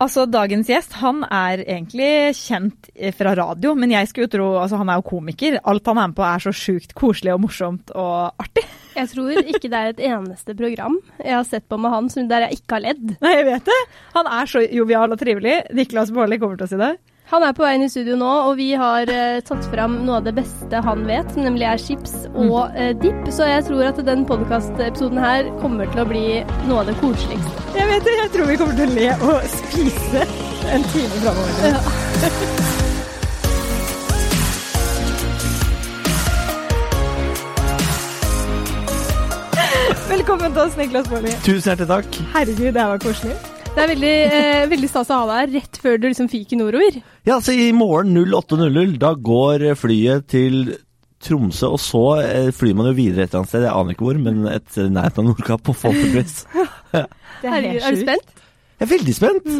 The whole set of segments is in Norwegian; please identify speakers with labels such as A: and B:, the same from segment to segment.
A: Altså, Dagens gjest han er egentlig kjent eh, fra radio, men jeg skulle jo tro altså, han er jo komiker. Alt han er med på er så sjukt koselig og morsomt og artig.
B: Jeg tror ikke det er et eneste program jeg har sett på med han som der jeg ikke har ledd.
A: Nei, jeg vet det. Han er så jovial og trivelig. Niklas Baarli kommer til oss i dag.
B: Han er på vei inn i studio nå, og vi har eh, tatt fram noe av det beste han vet, som nemlig er chips og eh, dipp. Så jeg tror at den podkastepisoden her kommer til å bli noe av det koseligste.
A: Jeg vet det, jeg tror vi kommer til å le og spise en time framover. Velkommen til oss, Niklas Baarli.
C: Tusen hjertelig takk.
A: Herregud, det her var koselig.
B: Det er veldig, eh, veldig stas å ha deg her rett før du liksom fyker nordover.
C: Ja, altså I morgen 08.00, da går flyet til Tromsø, og så eh, flyr man jo videre et eller annet sted, jeg aner ikke hvor, men et sted i nærheten av Nordkapp, på forhåpentligvis.
A: Det
B: Herregud, er du spent?
C: Jeg er veldig spent.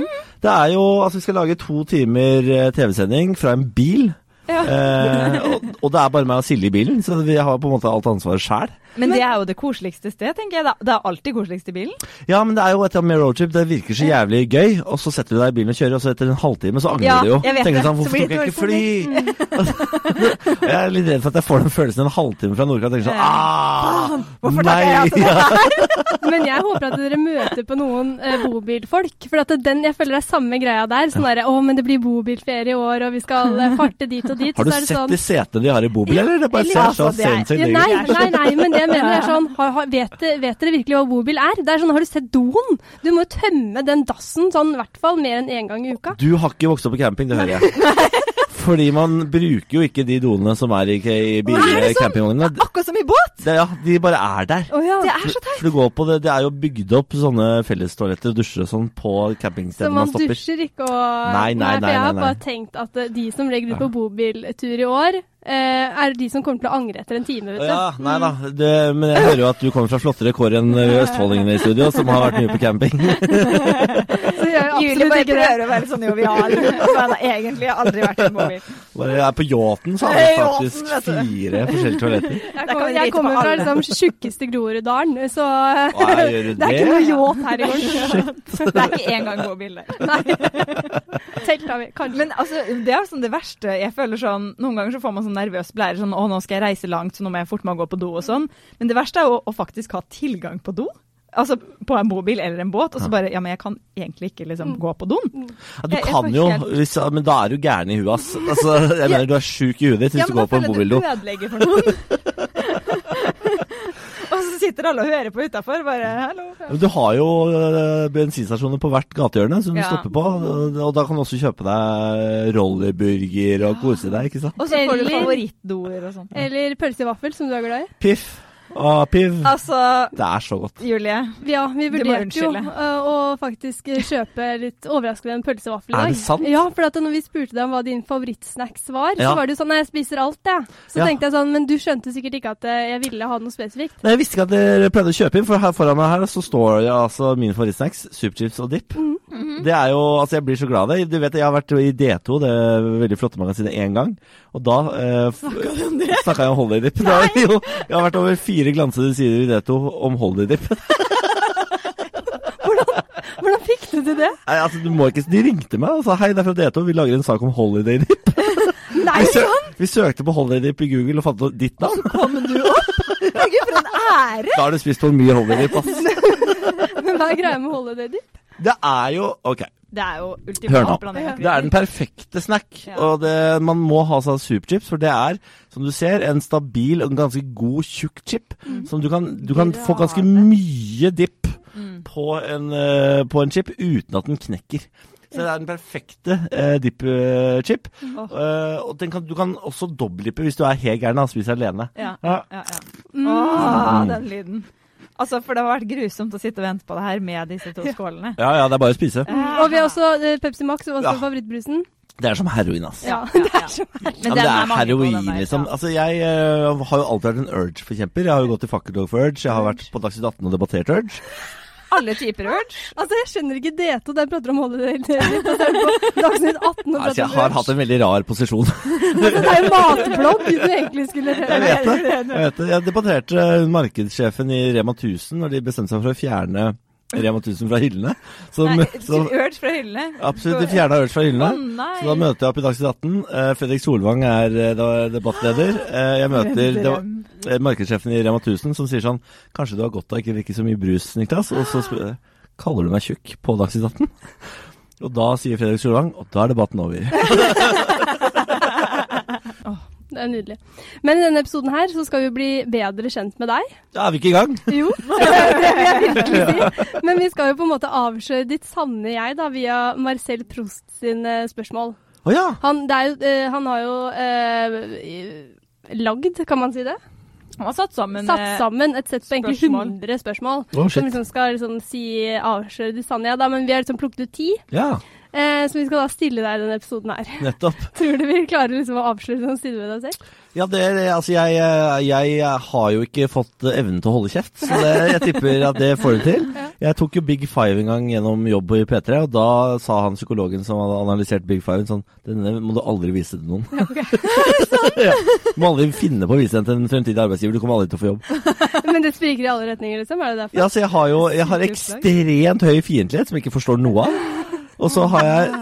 C: Det er jo Altså, vi skal lage to timer eh, TV-sending fra en bil. Eh, og, og det er bare meg og Silje i bilen, så vi har på en måte alt ansvaret sjæl.
A: Men det er jo det koseligste sted, tenker jeg. Det er- Det er alltid koseligst i bilen.
C: Ja, men det er jo et eller annet med roadtrip, det virker så jævlig gøy, og så setter du deg i bilen og kjører, og så etter en halvtime så angrer
A: Ja,
C: du jo.
A: jeg vet
C: Tenker
A: det.
C: sånn,
A: Så
C: hvorfor
A: blir
C: tok
A: det Mm.
C: jeg ikke fly? Og jeg er litt redd for at jeg får den følelsen en halvtime fra Nordkapp, og tenker sånn, ah,
A: Hvorfor
C: nei,
A: takker jeg altså
C: ja.
B: Men jeg håper at dere møter på noen eh, bobilfolk. For at den, jeg føler det er samme greia der. Sånn derre Å, men det blir bobilferie i år, og vi skal eh, farte dit og dit.
C: Har du
B: så er det
C: sett
B: sånn,
C: de setene de har i bobil, eller? Det bare
B: eller-
C: ser
A: Altså,
C: så
A: det er-
C: sinnssykt
B: ja,
C: ut.
B: nei, nei, nei, men det jeg mener er sånn har, har, vet, de- vet dere virkelig hva bobil er? Det er sånn, Har du sett doen? Du må jo tømme den dassen sånn i hvert fall mer enn én gang i uka.
C: Du har ikke vokst opp på camping, det hører jeg. Fordi man bruker jo ikke de doene som er i, i bil-
A: Nei, er det sånn?
C: campingvognene.
A: Akkurat som i båt!
C: Det- Ja, de bare er der.
B: Oh, ja.
A: Det er så
C: For du går på det, det er jo bygd opp sånne fellestoaletter og dusjer og sånn på
B: Så
C: campingstedene man
B: man
C: stopper.
A: liksom?
B: dusjer ikke og
C: Nei,
B: For
C: nei,
B: jeg
C: nei,
B: har
C: nei,
B: bare tenkt at eh, de som legger ut på bobiltur i år, eh, er de som kommer til å angre etter en time, vet du.
C: Ja, nei da. Det, men jeg hører jo at du kommer fra flottere kår enn eh, østfoldingene i studio, som har vært mye på camping.
B: Så jeg gjør
A: Julie
B: absolutt
A: bare
B: ikke det.
A: prøver å være sånn jovial, men egentlig har jeg aldri vært i en bobil.
C: Bare jeg er på yachten, så har
A: Hey,
C: vi
A: yachten,
C: faktisk
A: vet du.
C: fire forskjellige toaletter.
B: Jeg,
A: Da kan
B: kom,
A: vi
B: jeg
A: drite på
B: kommer fra
A: alle.
B: liksom tjukkeste Groruddalen, så eh,
C: Hva gjør du
B: det er ikke noe yacht her i gården.
A: Det er ikke engang bobil, det.
B: Telt har vi, kanskje.
A: Men altså, det er sånn det verste. Jeg føler sånn, Noen ganger så får man sånn nervøs blære. Sånn, 'Å, nå skal jeg reise langt, så nå må jeg fort meg gå på do', og sånn. Men det verste er jo å faktisk ha tilgang på do. Altså på en bobil eller en båt, og så bare 'Ja, men jeg kan egentlig ikke liksom gå på doen'.
C: Ja, du
A: Jeg- jeg
C: kan
A: får
C: jo,
A: helt-
C: hvis, ja, men da er du gæren i huet, ass. Altså, jeg mener du er sjuk i huet ditt hvis
A: Ja,
C: du
A: men da
C: går på
A: føler
C: en
A: jeg du
C: bobildo.
A: ødelegger for noen. og så sitter alle og hører på utafor, bare 'hallo'.
C: Men Du har jo øh, bensinstasjoner på hvert gatehjørne som du
A: Ja.
C: stopper på, og- og da kan du også kjøpe deg rollerburger og kose deg, ikke sant?
A: Og så får du
B: Eller-
A: favorittdoer og sånn.
B: Eller pølse i vaffel, som du er glad i.
C: Piff og piv.
A: Altså,
C: Det er så godt.
A: Julie.
B: Ja, vi
A: Du må
B: vurderte jo
A: unnskylde.
B: ø, å faktisk kjøpe litt overraskende en pølse i vaffel i
C: Er
B: dag.
C: det sant?
B: Ja, for at når vi spurte deg om hva din favorittsnacks var, så
C: Ja.
B: var det jo sånn Nei, jeg spiser alt, jeg. Så
C: Ja.
B: tenkte jeg sånn Men du skjønte sikkert ikke at ø, jeg ville ha noe spesifikt.
C: Nei, Jeg visste ikke at dere pleide å kjøpe inn, for her foran meg her så står det altså mine favorittsnacks, superchips og dip. Det er jo, altså Jeg blir så glad av det. Du vet, Jeg har vært i D2, det veldig flotte magasinet, én gang. Og da eh, f- snakka jeg om holiday dip. Da, jo, jeg har vært over fire glansede sider i D2 om holiday dip.
B: Hvordan fikk du til det?
C: Nei, altså, du må ikke, De ringte meg og sa hei, det er fra D2, vi lager en sak om holiday dip.
A: Nei,
C: Vi, sø vi søkte på holiday dip i Google og fant ut ditt navn.
A: kom du opp? Herregud, for en ære!
C: Da har du spist for mye holiday dip, ass.
B: Men hva er greia med holiday dip?
C: Det er jo OK.
A: Det er jo
C: Hør
A: ultimat
C: nå.
A: blanding.
C: Det er den perfekte snack.
A: Ja.
C: Og det, man må ha seg superchips, for det er, som du ser, en stabil og en ganske god tjukk chip. Som du kan, du kan få ganske mye dipp på, en, eh, på en chip uten at den knekker. Så det er den perfekte eh, dip-chip. og den kan, du kan også dobbeldippe hvis du er helt gæren og spiser alene.
A: Ja.
C: Ja.
A: Ja, ja. Åh, den lyden. Altså, for det har vært grusomt å sitte og vente på det her med disse to skålene.
C: ja ja, det er bare å spise.
B: Og vi har også ø, Pepsi Max, som var
C: Ja.
B: favorittbrusen.
C: Det er som heroin, altså.
B: Ja, det er så
C: Men det er heroin, liksom. Altså, jeg eh, har jo alltid vært en Urge-forkjemper. Jeg har jo gått i fakkeltog for Urge. Jeg har vært på Dagsnytt 18 og debattert Urge.
A: Alle typer urge.
B: Altså, jeg skjønner ikke D2, der prater om holiday dip, og så er det på Dagsnytt 18 og
C: Altså, jeg
B: prater
C: har
B: om
C: hatt en veldig rar posisjon.
B: brunch. Det er jo matblogg du egentlig skulle
C: Jeg
B: høre.
C: vet det. Jeg, vet det. jeg debatterte eh, markedssjefen i Rema 1000 når de bestemte seg for å fjerne Rema 1000 fra hyllene. Som,
A: Nei,
C: som
A: Urge fra hyllene.
C: absolutt de fjerna Urge fra hyllene.
A: Å, nei.
C: Så da møter jeg opp i Dagsnytt 18. Eh, Fredrik Solvang er eh, da debattleder. Eh, Jeg møter det var,
A: Drøm.
C: eh, markedssjefen i Rema 1000 som sier sånn Kanskje du har godt av ikke å drikke så mye brus, Niklas? Og så spør jeg Kaller du meg tjukk på Dagsnytt 18? Og da sier Fredrik Solvang Og da er debatten over.
B: Det er nydelig. Men i denne episoden her så skal vi bli bedre kjent med deg.
C: Da er vi ikke i gang.
B: Jo, det vil jeg virkelig si. Men vi skal jo på en måte avsløre ditt sanne jeg da, via Marcel Prost sine spørsmål.
C: Å ja.
B: Han, det er jo, eh, han har jo eh, lagd, kan man si det?
A: Han har satt sammen
B: Satt sammen et sett på egentlig
A: eh, spørsmål.
B: 100 spørsmål.
C: Oh, shit.
B: som liksom skal liksom si avsløre ditt sanne jeg, da. Men vi har liksom plukket ut ti,
C: ja.
B: eh, som vi skal da stille deg i denne episoden her.
C: Nettopp.
B: Tror du vi klarer liksom å avsløre sånn stille med deg selv?
C: Ja, det, er- altså jeg, jeg eh, har jo ikke fått eh, evnen til å holde kjeft, så det, jeg tipper at det får du til. Jeg tok jo Big Five en gang gjennom jobb i P3, og da sa han psykologen som hadde analysert Big Five, sånn Denne må du aldri vise til noen. ja. Du må aldri finne på å vise den til en fremtidig arbeidsgiver, du kommer aldri til å få jobb.
B: Men det spriker i alle retninger, liksom? Er det derfor?
C: Ja, så jeg har jo jeg har ekstremt høy fiendtlighet, som jeg ikke forstår noe av. Og så har jeg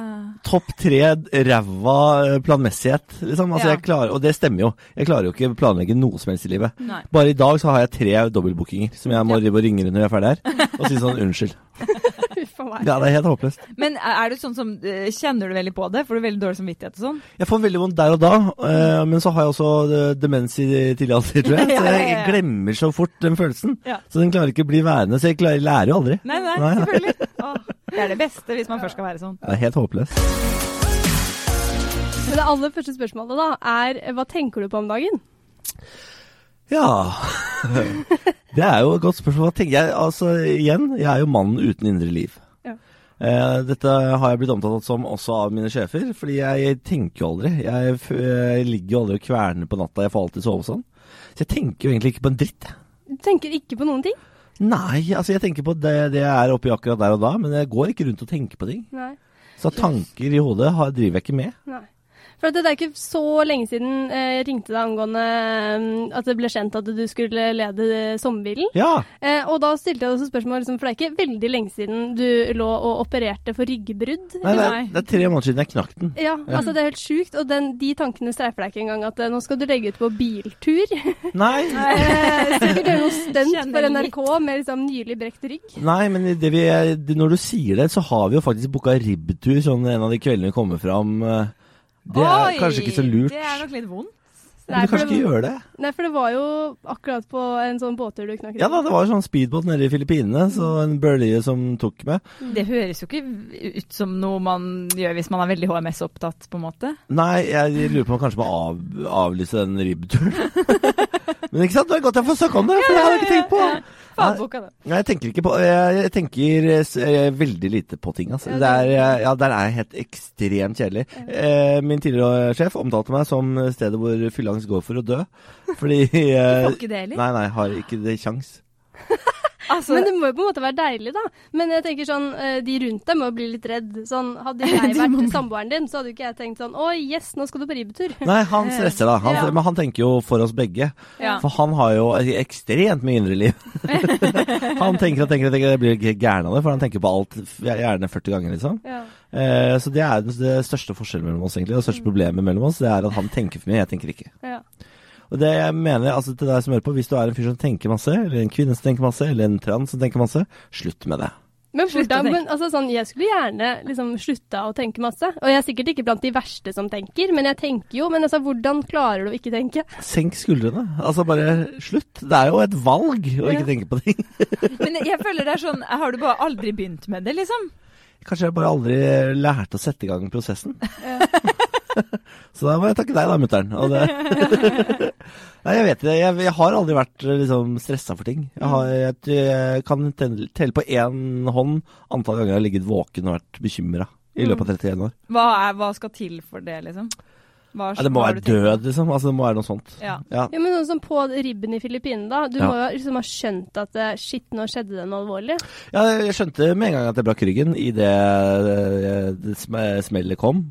C: topp tre ræva eh, planmessighet, liksom. Altså,
A: Ja.
C: jeg klarer, og det stemmer jo. Jeg klarer jo ikke planlegge noe som helst i livet.
A: Nei.
C: Bare i dag så har jeg tre dobbeltbookinger som jeg må rive og ringe rundt når jeg er ferdig her, og si sånn unnskyld.
B: Uff a meg.
C: Ja, det er helt håpløst.
A: Men er er du sånn som eh, Kjenner du veldig på det? Får du veldig dårlig samvittighet og sånn?
C: Jeg får veldig vondt der og da, eh, men så har jeg også eh, demens i tidlig alder, tror jeg.
A: Ja,
C: Så
A: ja, ja.
C: jeg glemmer så fort den følelsen.
A: Ja.
C: Så den klarer ikke å bli værende, så jeg klarer, lærer jo aldri.
A: Nei, nei,
C: Nei, nei.
A: selvfølgelig. Åh, det er det beste, hvis man først skal være sånn.
C: Det er helt håpløst.
B: Men det aller første spørsmålet da er eh, hva tenker du på om dagen?
C: Ja Det er jo et godt spørsmål. Hva tenker jeg? Altså, igjen, jeg er jo mannen uten indre liv.
B: Ja.
C: Eh, dette har jeg blitt omtalt som også av mine sjefer, fordi jeg tenker jo aldri. Jeg, f jeg ligger jo aldri og kverner på natta, jeg får alltid sove sånn. Så jeg tenker jo egentlig ikke på en dritt. jeg.
B: Du tenker ikke på noen ting?
C: Nei, altså jeg tenker på det, det jeg er oppi akkurat der og da, men jeg går ikke rundt og tenker på ting.
B: Nei.
C: Så tanker i hodet har, driver jeg ikke med.
B: Nei. For at det er ikke så lenge siden eh, jeg ringte deg angående eh, at det ble kjent at du skulle lede eh, Sommerbilen.
C: Ja,
B: Eh, og da stilte jeg også spørsmål, liksom, for det er ikke veldig lenge siden du lå og opererte for ryggbrudd.
C: nei, det, er,
A: Nei.
C: det er tre måneder siden jeg knakk den.
B: Ja, altså det er helt sjukt, og den, de tankene streifer deg ikke engang at eh, nå skal du legge ut på biltur.
C: Nei,
B: Eh, Sikkert gjøre noe stunt
A: Kjenner
B: for
A: litt.
B: NRK med liksom nylig brekt rygg.
C: nei men det vi, det, når du sier det, så har vi jo faktisk booka ribbtur sånn en av de kveldene vi kommer fram. eh, Det er
A: Oi,
C: kanskje ikke så lurt.
A: Det er nok litt vondt.
C: Men du
B: for
C: kanskje
B: det,
C: ikke gjør det?
B: nei, for det var jo akkurat på en sånn båttur du knakk
C: Ja da, det var jo sånn speedbåt nede i Filippinene, så en bølge som tok meg.
A: Det høres jo ikke ut som noe man gjør hvis man er veldig HMS-opptatt, på en måte.
C: Nei, jeg lurer på om jeg kanskje må av, avlyse den ribbturen. Men ikke sant, det er godt jeg får snakke om det, for det har jeg ikke tenkt på.
A: Fagboka, da.
C: Nei, jeg tenker ikke på Jeg, jeg tenker eh, s- eh, veldig lite på ting, altså.
B: Ja, det-
C: Det er, eh, ja, der er jeg helt ekstremt kjedelig. Eh, Min tidligere sjef omtalte meg som stedet hvor fylleangst går for å dø. Fordi eh,
A: Får ikke det heller.
C: Nei, nei, har ikke det kjangs.
A: Altså,
B: Men det må jo på en måte være deilig, da. Men jeg tenker sånn, eh, de rundt deg må bli litt redd. Sånn, hadde jeg
A: De må
B: vært
A: bli-
B: samboeren din, så hadde jo ikke jeg tenkt sånn Å, yes, nå skal du på ribbetur.
C: Nei, han stresser da. Han,
B: Ja.
C: Men han tenker jo for oss begge.
A: ja.
C: For han har jo ekstremt mye indre liv. han tenker og tenker og tenker, jeg blir ikke gæren av det, for han tenker på alt f- gjerne 40 ganger, liksom.
B: Ja.
C: Eh, så det er den- det største forskjellen mellom oss, egentlig. Det største problemet mellom oss, det er at han tenker for mye, jeg tenker ikke.
B: Ja.
C: Og det jeg mener, altså til deg som hører på, hvis du er en fyr som tenker masse, eller en kvinne som tenker masse, eller en trans som tenker masse, slutt med det.
B: Men
A: Slutt å
B: hvordan,
A: tenke.
B: men, altså, sånn, jeg skulle gjerne liksom, slutta å tenke masse. Og jeg er sikkert ikke blant de verste som tenker, men jeg tenker jo. Men altså, hvordan klarer du å ikke tenke?
C: Senk skuldrene. Altså bare slutt. Det er jo et valg
B: Ja.
C: å ikke tenke på ting.
A: Men jeg føler det er sånn Har du bare aldri begynt med det, liksom?
C: Kanskje jeg bare aldri lærte å sette i gang prosessen. Så da må jeg takke deg da, mutter'n. Og det- Nei, jeg vet det. Jeg, jeg har aldri vært eh, liksom, stressa for ting. Jeg, har,
A: Mm.
C: jeg, jeg kan telle, telle på én hånd antall ganger jeg har ligget våken og vært bekymra
A: Mm.
C: i løpet av 31 år.
A: Hva, er, hva skal til for det, liksom? Hva,
C: Ja, det må
A: hva har du
C: være
A: tenkt?
C: død, liksom. Altså, det må være noe sånt.
A: Ja.
C: Ja.
B: Ja, men sånn som På ribben i Filippinene, da. Du
C: Ja.
B: må jo liksom ha skjønt at eh, shit, nå skjedde det noe alvorlig.
C: Ja,
B: Mm.
C: jeg skjønte med en gang at jeg brakk ryggen idet det sm- smellet kom.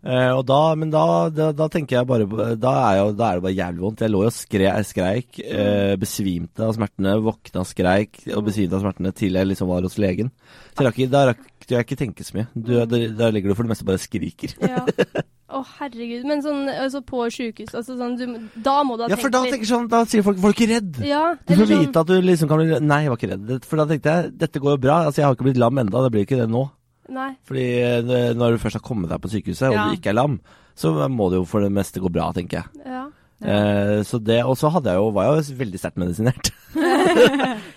C: Eh, og da, men da, da, da tenker jeg bare på- da er, jo, da er det bare jævlig vondt. Jeg lå jo og skre, jeg skreik, eh, besvimte av smertene, våkna skreik og
B: Mm.
C: besvimte av smertene til jeg liksom var hos legen. Så jeg rakk, ikke- da rakk jeg ikke tenke så mye. Du,
B: Mm.
C: der, der ligger du for det meste bare og skriker.
B: Ja. Å, herregud. Men sånn altså, på sjukehus altså, sånn, du, Da må du ha
C: Ja,
B: tenkt
C: for da
B: litt.
C: tenker sånn, da sier folk 'var du ikke redd'?
B: Ja,
C: Du får
B: eller sånn-
C: vite at du liksom kan bli redd. Nei, jeg var ikke redd. Det- For da tenkte jeg dette går jo bra. Altså, jeg har ikke blitt lam enda, det blir ikke det nå.
B: Nei.
C: Fordi eh, det- når du først har kommet deg på sykehuset,
A: Ja.
C: og du ikke er lam, så må det jo for det meste gå bra, tenker jeg.
B: Ja.
C: Eh, så det, og så hadde jeg jo, var jeg jo veldig sterkt medisinert.
B: Det-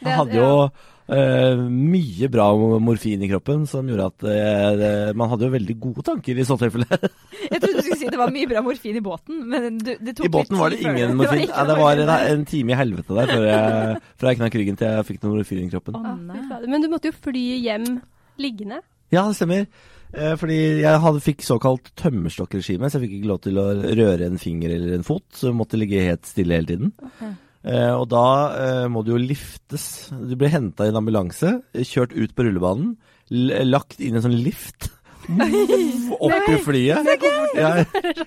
C: Jeg hadde jo
B: ja.
C: eh, mye bra morfin i kroppen som gjorde at eh, det, man hadde jo veldig gode tanker i så tilfelle.
A: Jeg trodde du skulle si det var mye bra morfin i båten, men du, det tok
C: I båten var det ingen morfin. Ja, det var en, en time i helvete der før jeg, fra jeg knakk ryggen til jeg fikk noe morfin i kroppen.
B: Ah, fy fader. Men du måtte jo fly hjem liggende.
C: Ja, det stemmer. Eh, Fordi jeg hadde, fikk såkalt tømmerstokkregime, så jeg fikk ikke lov til å røre en finger eller en fot. Så jeg måtte ligge helt stille hele tiden. Eh, og da eh, må du jo liftes. Du blir henta i en ambulanse, kjørt ut på rullebanen, l lagt inn i en sånn lift. Opp i flyet. Ja,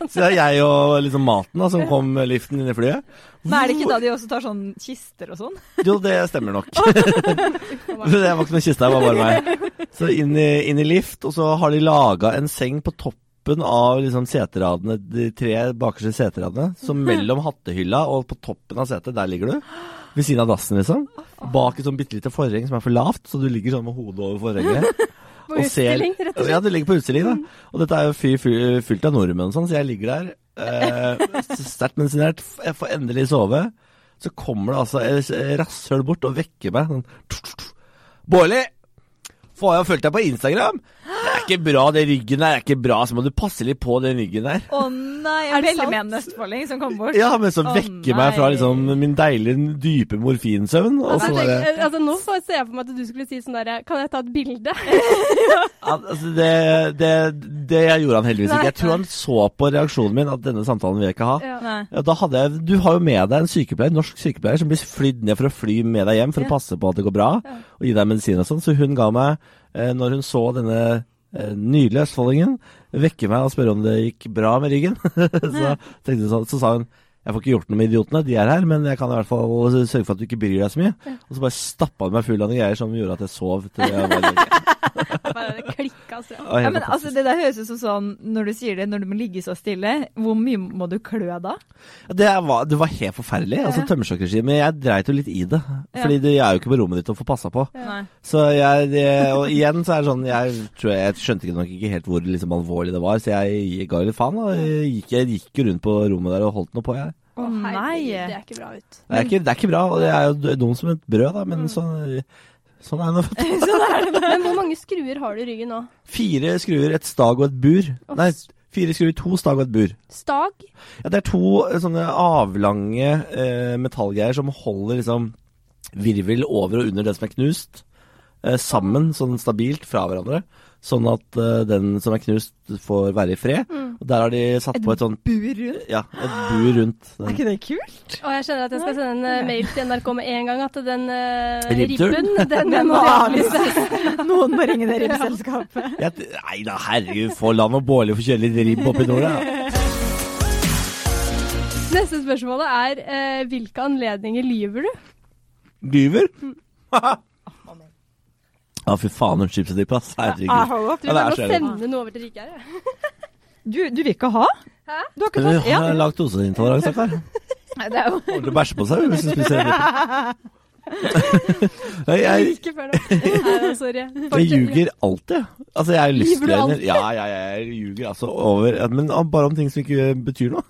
C: så det er jeg og liksom maten da, som kom med liften inn i flyet.
A: Men er det ikke da de også tar sånn kister og sånn?
C: Jo, det stemmer nok. Men det var ikke noen kiste, det var bare meg. Så inn i, inn i lift, og så har de laga en seng på toppen av liksom seteradene, de tre bakerste seteradene. Så mellom hattehylla og på toppen av setet, der ligger du. Ved siden av dassen, liksom. Bak et sånn bitte lite forheng som er for lavt, så du ligger sånn med hodet over forhenget.
B: På utstilling, rett og slett. Mm.
C: Ja, du ligger på utstilling, da. Og dette er jo fyr fyr- fylt av nordmenn og sånn, så jeg ligger der. Eh, Sterkt medisinert. F- Jeg får endelig sove. Så kommer det altså et rasshøl bort og vekker meg. Sånn Bårli! Får jeg fulgt deg på Instagram? Det er ikke bra, det ryggen der er ikke bra, så må du passe litt på den ryggen der.
A: Å nei,
B: Er
A: en
B: det sant?
A: veldig med en østfolding som kom bort.
C: Ja, men så
A: Å,
C: vekker meg fra
A: nei.
C: liksom min deilige, dype morfinsøvn. Og
B: Altså,
C: så bare
B: tenk, altså, nå får jeg se for meg at du skulle si sånn derre Kan jeg ta et bilde?
C: Al- Altså, det, det, det gjorde han heldigvis
B: Nei.
C: ikke. Jeg tror han så på reaksjonen min at denne samtalen vil jeg ikke ha.
B: Ja.
A: Nei.
C: Ja, da hadde jeg, du har jo med deg en sykepleier, norsk sykepleier som blir flydd ned for å fly med deg hjem for
B: Ja.
C: å passe på at det går bra,
B: Ja.
C: og gi deg medisin og sånn. Så hun ga meg, eh, når hun så denne eh, nydelige østfoldingen, vekke meg og spørre om det gikk bra med ryggen. så, tenkte hun sånn, så sa hun jeg får ikke gjort noe med idiotene, de er her, men jeg kan i hvert fall sørge for at du ikke bryr deg så mye. Og så bare stappa hun meg full av noen greier som gjorde at jeg sov til jeg var lege.
B: Bare det klikka så.
C: Og helt
A: Ja, men
C: fantastisk.
A: altså, Det der høres ut som sånn når du sier det, når du må ligge så stille, hvor mye må du klø da?
C: Det var, det var helt forferdelig. Altså Tømmerstokkregimet. Men jeg dreit jo litt i det. Fordi det, jeg er jo ikke på rommet ditt og får passa på.
A: Nei.
C: Så jeg, det, og igjen så er det sånn Jeg, tror jeg, jeg skjønte ikke nok ikke helt hvor liksom, alvorlig det var, så jeg ga jo litt faen. da. Jeg gikk, jeg gikk jo rundt på rommet der og holdt noe på, jeg.
A: Å
B: herregud, Det
A: nei.
B: er ikke bra ut.
C: Det er ikke, det er ikke bra, og det er jo dum som et brød, da, men sånn, sånn er det. nå.
B: Men hvor mange skruer har du i ryggen nå?
C: Fire skruer, et stag og et bur.
B: Å,
C: Nei, fire skruer, to stag og et bur.
B: Stag?
C: Ja, det er to eh, sånne avlange eh, metallgreier som holder liksom virvel over og under den som er knust, eh, sammen sånn stabilt fra hverandre. Sånn at eh, den som er knust får være i fred.
A: Mm.
C: Og der har de satt på et sånn
A: Bur rundt.
C: ja, et bur rundt.
A: Er
C: Den.
A: ikke det kult?
B: Og jeg skjønner at jeg skal sende en eh, mail til NRK med en gang at den eh,
C: Ribbtur?
B: ribben, den
A: Den
B: må
A: må
B: vi avlyse.
A: avlyses. Noen må ringe det ribbselskapet.
C: Jeg, nei da, herregud, få Land og Bårli få kjøre litt ribb oppi nord, da.
B: Neste spørsmålet er eh, hvilke anledninger lyver du?
C: Lyver?
A: Mm.
C: Ja, fy faen, hun chipset dipp, ass.
A: Ah,
C: Herregud.
B: Du
C: Ja,
B: kan nå
C: det er så ærlig.
B: sende noe over til Rikard. jeg.
A: Du, du vil ikke ha?
B: Hæ?
A: Du har ikke
C: Hun
A: tatt
C: har
A: én?
C: lagd doseintoleranse, stakkar.
A: Det er jo
C: Holder til å bæsje på seg hvis hun spiser ribb. Nei, jeg,
B: Ikke før nå. Nei, da, sorry.
C: Jeg
B: Fortsett.
C: ljuger alltid. Altså, jeg er jo
B: Lyver du
C: lystløgner.
B: alltid?
C: Ja, ja, ja, jeg ljuger altså over Men bare om ting som ikke betyr noe.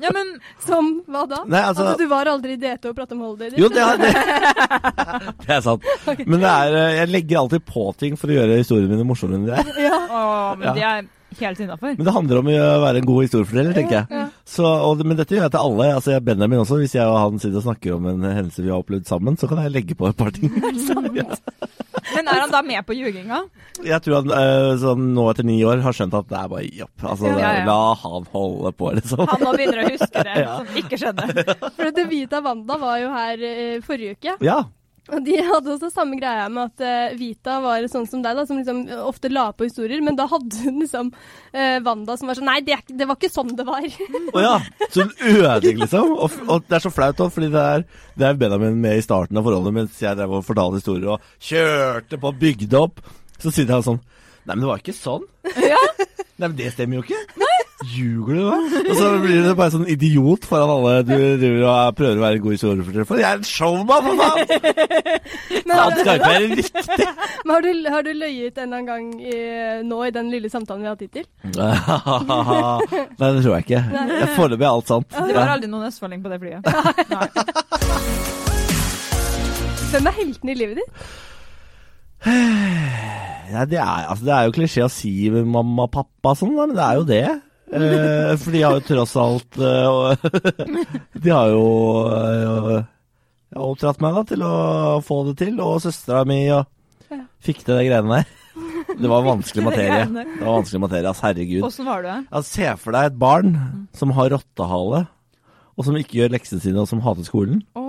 A: Ja, men
B: Som hva da?
C: Nei, altså-
B: du var aldri i DT og prata om holdet ditt?
C: Jo, det er, det, det er sant. Men det er, eh, jeg legger alltid på ting for å gjøre historiene mine morsommere enn de er.
A: Å, men det er helt innafor.
C: Men det handler om å være en god historieforteller, tenker jeg. Så, og, det- men dette gjør jeg til alle. Altså, jeg- Benjamin også. Hvis jeg og han sitter og snakker om en hendelse vi har opplevd sammen, så kan jeg legge på et par ting.
A: Men er han da med på ljuginga?
C: Jeg tror han eh, sånn, nå etter ni år har skjønt at det er bare jobb. Altså,
A: Ja, ja.
C: la han holde på, liksom.
A: Han nå begynner å huske det som ikke skjedde.
B: For det Vita Wanda var jo her eh, forrige uke.
C: Ja.
B: Og De hadde også samme greia med at eh, Vita var sånn som deg, da, som liksom ofte la på historier. Men da hadde hun liksom eh, Wanda som var sånn Nei, det, er, ikke- det var ikke sånn det var.
C: Å ja! Så hun ødelegger, liksom. Og, f- og det er så flaut òg, fordi det er, det er Benjamin med i starten av forholdet mens jeg drev og fortalte historier og kjørte på og bygde opp. Så sitter han sånn Nei, men det var ikke sånn. Nei, men det stemmer jo ikke. Ljuger du da? Og så blir du bare sånn idiot foran alle du driver og er- prøver å være en god historieforteller for. Jeg er en showman, for faen!
B: Men,
C: Han skal ikke være riktig.
B: men har, du, har du løyet en eller annen gang i, nå i den lille samtalen vi har hatt hittil?
C: Nei, det tror jeg ikke. Jeg Foreløpig er alt sant.
A: Det var aldri noen østfolding på det flyet.
B: Hvem er helten i livet ditt?
C: Nei, det, er, altså, det er jo klisjé å si med mamma og pappa og sånn, da, men det er jo det. Eh, for de har jo tross alt eh, og- De har jo eh, ja, oppdratt meg da til å få det til, og søstera mi og
B: Ja.
C: fikk til de greiene der. Det var vanskelig
A: Fikk til de
C: materie.
A: greiene der.
C: Det var vanskelig materie, ass, herregud.
A: Åssen var du?
C: Ja, se for deg et barn som har rottehale, og som ikke gjør leksene sine, og som hater skolen.
A: Åh.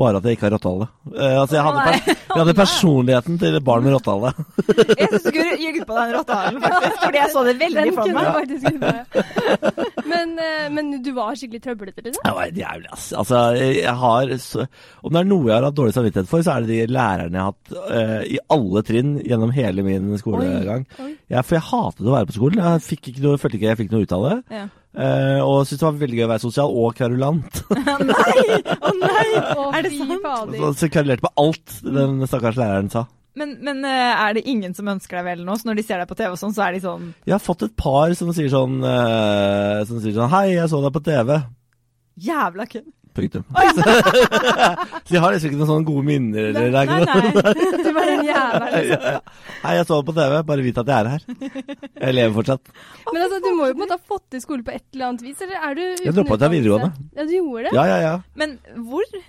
C: Bare at jeg ikke har rottehale. Eh, altså, jeg hadde, per jeg hadde personligheten til et barn med rottehale.
A: Jeg syns du skulle ljuget på den rottehalen, faktisk. Fordi jeg så det veldig
B: Den
A: for
B: kunne
A: meg.
B: jeg faktisk ikke men, eh, men du var skikkelig trøblete, liksom?
C: Det var jævlig, ass. Altså, jeg har så, Om det er noe jeg har hatt dårlig samvittighet for, så er det de lærerne jeg har hatt eh, i alle trinn gjennom hele min skolegang.
B: oi.
C: Ja, for jeg hatet å være på skolen. Jeg fikk ikke noe, følte ikke jeg fikk noe ut av det.
A: Ja.
C: Eh, og syntes det var veldig gøy å være sosial og kverulant.
A: Å nei!
B: Å,
A: Er det
B: fy
A: sant?
B: fader.
C: Så jeg kverulerte på alt den stakkars læreren sa.
A: Men, men eh, er det ingen som ønsker deg vel nå? Så når de ser deg på TV og sånn, så er de sånn
C: Jeg har fått et par som sier sånn, eh, som sier sånn Hei, jeg så deg på TV.
A: Jævla kødd.
C: Punktum. så jeg har liksom ikke noen sånne gode minner. Eller, det er ikke noe-
A: nei. nei.
B: Du var en jævel.
C: Ja, ja. Hei, jeg så det på TV. Bare vit at jeg er her. Jeg lever fortsatt.
B: Men altså, du må jo på en måte ha fått til skole på et eller annet vis, eller er du uten
C: Jeg droppet ut av
B: utdannelse?
C: videregående.
B: Ja, du gjorde det?
C: Ja, ja, ja.
A: Men hvor?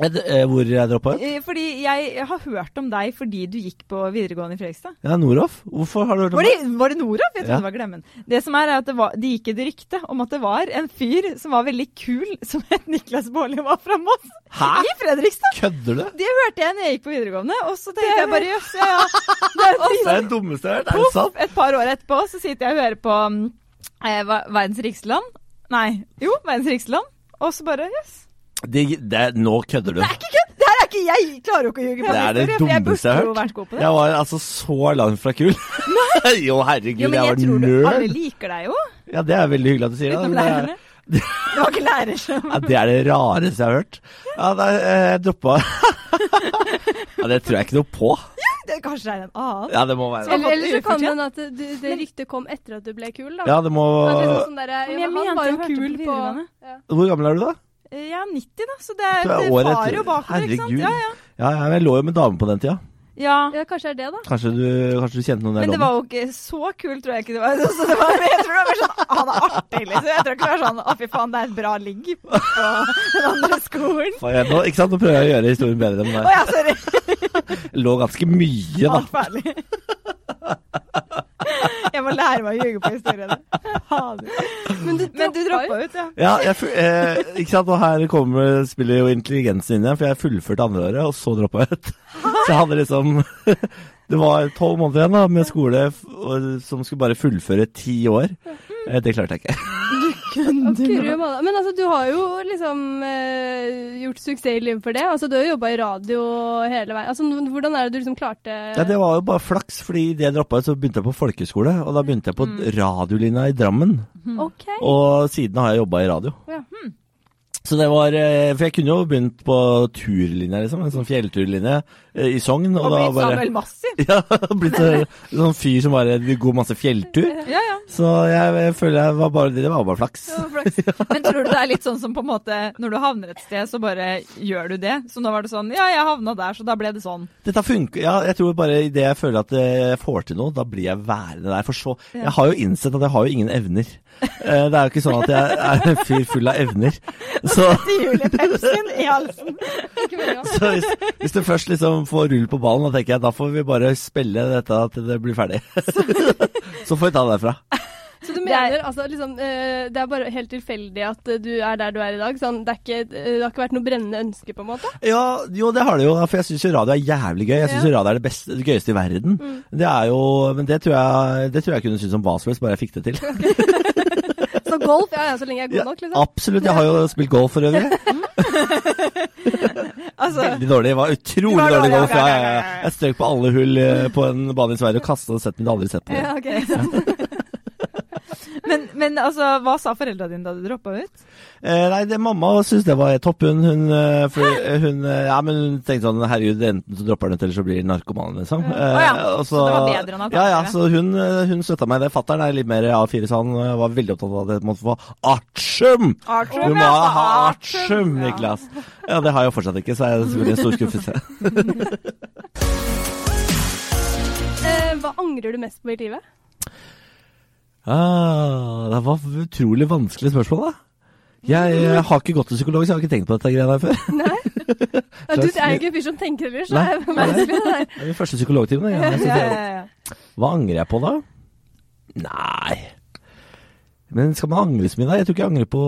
C: Jeg, eh, hvor jeg droppa ut?
A: Eh, Fordi jeg har hørt om deg fordi du gikk på videregående i Fredrikstad.
C: Ja, Noroff. Hvorfor har du hørt om
A: Var det, var det Nora? Jeg trodde
C: Ja.
A: det var Glemmen. Det som er, er at det, var, det gikk et rykte om at det var en fyr som var veldig kul, som het Niklas Baarli og var fra Moss,
C: Hæ?
A: i Fredrikstad.
C: Kødder du?
A: Det hørte jeg når jeg gikk på videregående, og så tenkte jeg bare jøss, ja ja. Det er
C: Det er det dummeste jeg har hørt. Er det sant?
A: et par år etterpå så sitter jeg og hører på mm, eh, hva- Verdens rikeste land. Nei, jo, Verdens rikeste land. Og så bare Jøss.
C: Det, det, nå kødder du.
A: Det er ikke kødd! Det her er ikke Jeg klarer jo ikke å ljuge på
C: Det er det
A: historie, for
C: dummeste
A: Jeg
C: jeg har
A: burde jo vært god på det.
C: Jeg var altså så langt fra kul. jo, herregud,
A: Jo, men jeg,
C: jeg,
A: tror
C: var
A: du, alle
C: nerd.
A: liker deg jo,
C: Ja, det er veldig hyggelig at du sier det.
A: utenom
C: men det er-
A: lærerne. Det var ikke lærer som
C: Ja, det er det rareste jeg har hørt. Ja, nei, eh, jeg droppa Ja, det tror jeg ikke noe på.
A: det, Kanskje det er en annen?
C: Ja, det må være
B: Eller, eller så
A: Ufortjent.
B: kan det hende at det, det ryktet kom etter at du ble kul, da.
C: Ja, det må
B: At liksom sånn
A: Men
B: der, ja,
A: jeg
B: men
A: mente
B: han var
A: jeg
B: jo
A: hørte
B: kul
A: på
B: på
A: videregående.
B: ja.
C: Hvor gammel er du, da?
A: Eh, Jeg er 90, da, så det, er,
C: Du er
A: det
C: året
A: farer jo
C: etter.
A: bakover, ikke sant?
C: Herregud.
A: Ja, ja.
C: Ja, ja, men jeg lå jo med dame på den tida.
A: ja.
B: ja, kanskje det er det, da.
C: Kanskje du, kanskje du kjente noen der
A: Men det var jo ikke så kult, tror jeg ikke det var. Så det var jeg tror det var mer sånn ah, Han er artig, liksom. Jeg tror ikke det var sånn Å, fy faen, det er et bra ligg på den andre skolen.
C: Faen, jeg- Nå, ikke sant? Nå prøver jeg å gjøre historien bedre
A: Å
C: enn det.
A: ja, sorry.
C: Jeg lå ganske mye, da.
A: Alt ferdig. Jeg må lære meg å ljuge på historiene. Fader.
B: Men du,
A: Men du
B: droppa
A: droppa ut, ja.
C: Ja, jeg, fu- eh, ikke sant? Og her kommer, spiller jo intelligensen inn igjen, for jeg fullførte andreåret, og så droppa jeg ut. Så jeg hadde liksom Det var tolv måneder igjen da, med skole f- og, som skulle bare fullføre ti år. Eh, Det klarte jeg ikke.
B: Å, kurre malla. Men altså, du har jo liksom eh, gjort suksess i livet for det. Altså, du har jo jobba i radio hele veien. Altså, n- hvordan er det du liksom klarte
C: Ja, Det var jo bare flaks, fordi idet jeg droppa ut, så begynte jeg på folkehøyskole. Og da begynte jeg på radiolinja i Drammen.
B: Mhm. OK.
C: Og siden har jeg jobba i radio.
B: Ja.
C: Så det var eh, For jeg kunne jo begynt på turlinja, liksom. En sånn fjellturlinje eh, i Sogn. Og,
A: Og
C: da
A: blitt
C: bare
A: Samuel Massi.
C: ja, blitt så, sånn fyr som bare går masse fjelltur.
A: Ja, ja.
C: Så jeg, jeg føler jeg var bare, det var bare flaks.
B: Det var flaks.
A: Men tror du det er litt sånn som på en måte når du havner et sted, så bare gjør du det? Så nå var det sånn Ja, jeg havna der, så da ble det sånn.
C: Dette funker Ja, jeg tror bare idet jeg føler at eh, jeg får til noe, da blir jeg værende der. For så Jeg har jo innsett at jeg har jo ingen evner. Eh, Det er jo ikke sånn at jeg er en fyr full av evner. Så
A: Til Julie Pepsin i halsen.
B: Ikke veldig godt.
C: Så hvis, hvis du først liksom får rull på ballen, da tenker jeg da får vi bare spille dette til det blir ferdig. så får vi ta det derfra.
B: Så du
A: er-
B: mener, altså, liksom, eh, det er bare helt tilfeldig at eh, du er der du er i dag. Sånn, det, er ikke, eh, det har ikke vært noe brennende ønske, på en måte.
C: Ja, jo det har det jo, for jeg syns jo radio er jævlig gøy. Jeg syns
B: Ja. Mm.
C: jo radio er det, beste, det gøyeste i verden. Det er jo Men det tror jeg, det tror jeg kunne synes om hva som helst, bare jeg fikk det til.
B: Så golf, ja ja, så lenge jeg er god nok, liksom.
C: Absolutt. Jeg har jo spilt golf for øvrig.
A: Altså,
C: Veldig dårlig. Det var utrolig
A: Det var
C: dårlig
A: dårlig,
C: golf.
A: ja,
C: Ja,
A: ja,
C: ja,
A: ja,
C: ja.
A: ja, ja.
C: Jeg strøk på alle hull eh, på en bane i Sverige og kasta og sett men aldri sett på det.
B: Ja, ok, sånn.
A: men, men altså, hva sa foreldra dine da du droppa ut?
C: Eh, nei, det, mamma syntes det var topp, hun. Hun, eh, for, eh, hun, eh, ja, men hun tenkte sånn herregud, enten så dropper hun ut, eller så blir hun narkoman, liksom. Eh,
A: Å ja,
C: og
A: så det var bedre enn
C: Ja, ja,
A: alternativet.
C: så hun, eh, hun støtta meg i det. Fattern er litt mer A4, så han eh, var veldig opptatt av at jeg måtte få artium!
A: Artium,
C: Du må
A: ja,
C: ha
A: artium,
C: artium,
A: ja.
C: Niklas! Ja, det har jeg jo fortsatt ikke, så er det selvfølgelig en stor skuffelse.
B: Eh, Hva angrer du mest på i livet?
C: Ah, det var utrolig vanskelig spørsmål, da. Jeg, eh, har ikke gått til psykolog, så jeg har ikke tenkt på dette greiene her før.
B: Nei? Ja, Du er jo ikke en fyr som tenker ellers. så det er vanskelig, det der.
C: Det er min første psykologtime. da. Jeg synes
A: Ja,
C: det-
A: ja, ja.
C: Hva angrer jeg på da? Nei Men skal man angre så mye da? Jeg tror ikke jeg angrer på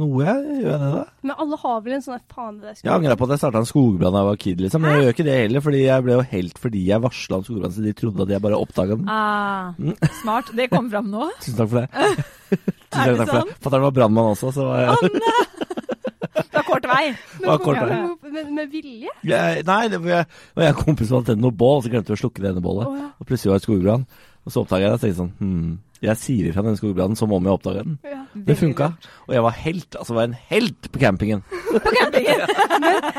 C: noe, jeg. Gjør jeg det da?
B: Men alle har vel en sånn der, faen det der
C: Jeg angra på at jeg starta en skogbrann da jeg var kid, liksom. Men jeg gjør ikke det heller, fordi jeg ble jo helt fordi jeg varsla om skogbrann, så de trodde at jeg bare oppdaga den.
A: Ah, smart. Det kom fram nå.
C: Tusen takk for det. Tusen
A: Er det Ah,
C: takk for det. Fatter'n var brannmann også, så var jeg
A: Det var kort vei.
C: var kort vei.
B: Men hvor- Med, med vilje?
C: Jeg- Nei, det var jeg og jeg og en kompis som hadde tent noe bål, og så glemte vi å slukke det ene bålet.
B: Å, ja.
C: Og plutselig var det skogbrann. Og så oppdaga jeg det og tenkte sånn Hm, jeg sier ifra denne skogbrannen som om jeg oppdaga den.
B: Ja.
C: Det funka. Og jeg var helt, altså var en helt på campingen.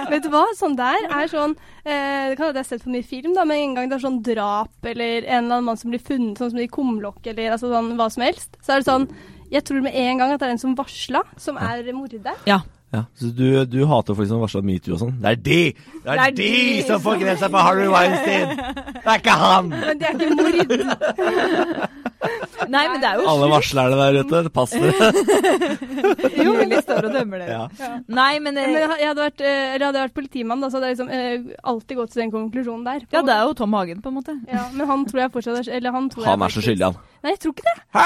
B: Vet du hva, sånn der er sånn eh, Det kan hende jeg har sett for mye film, da, men en gang det er sånn drap eller en eller annen mann som blir funnet sånn som i kumlokk eller altså sånn hva som helst, så er det sånn Jeg tror med en gang at det er en som varsla, som er morder.
A: Ja.
C: Ja, så du, du hater folk som varsla metoo og sånn? Det er de! Det er,
A: Det er
C: de,
A: de
C: som får grensa for Harry Weinstein! Det er ikke han!
B: Men det er ikke mord.
A: Nei, men det er jo
C: Alle varslerne der ute, pass dere.
A: Julie står og dømmer det.
C: Ja.
A: Nei, men, eh,
B: Men jeg hadde vært, eh, eller hadde jeg vært politimann, da, så hadde jeg liksom eh, alltid gått til den konklusjonen der.
A: ja, det er jo Tom Hagen, på en måte.
B: ja, men han tror jeg fortsatt er Eller han tror
C: Han
B: jeg
C: er så
B: faktisk-
C: skyldig, han.
B: Nei, jeg tror ikke det. Hæ?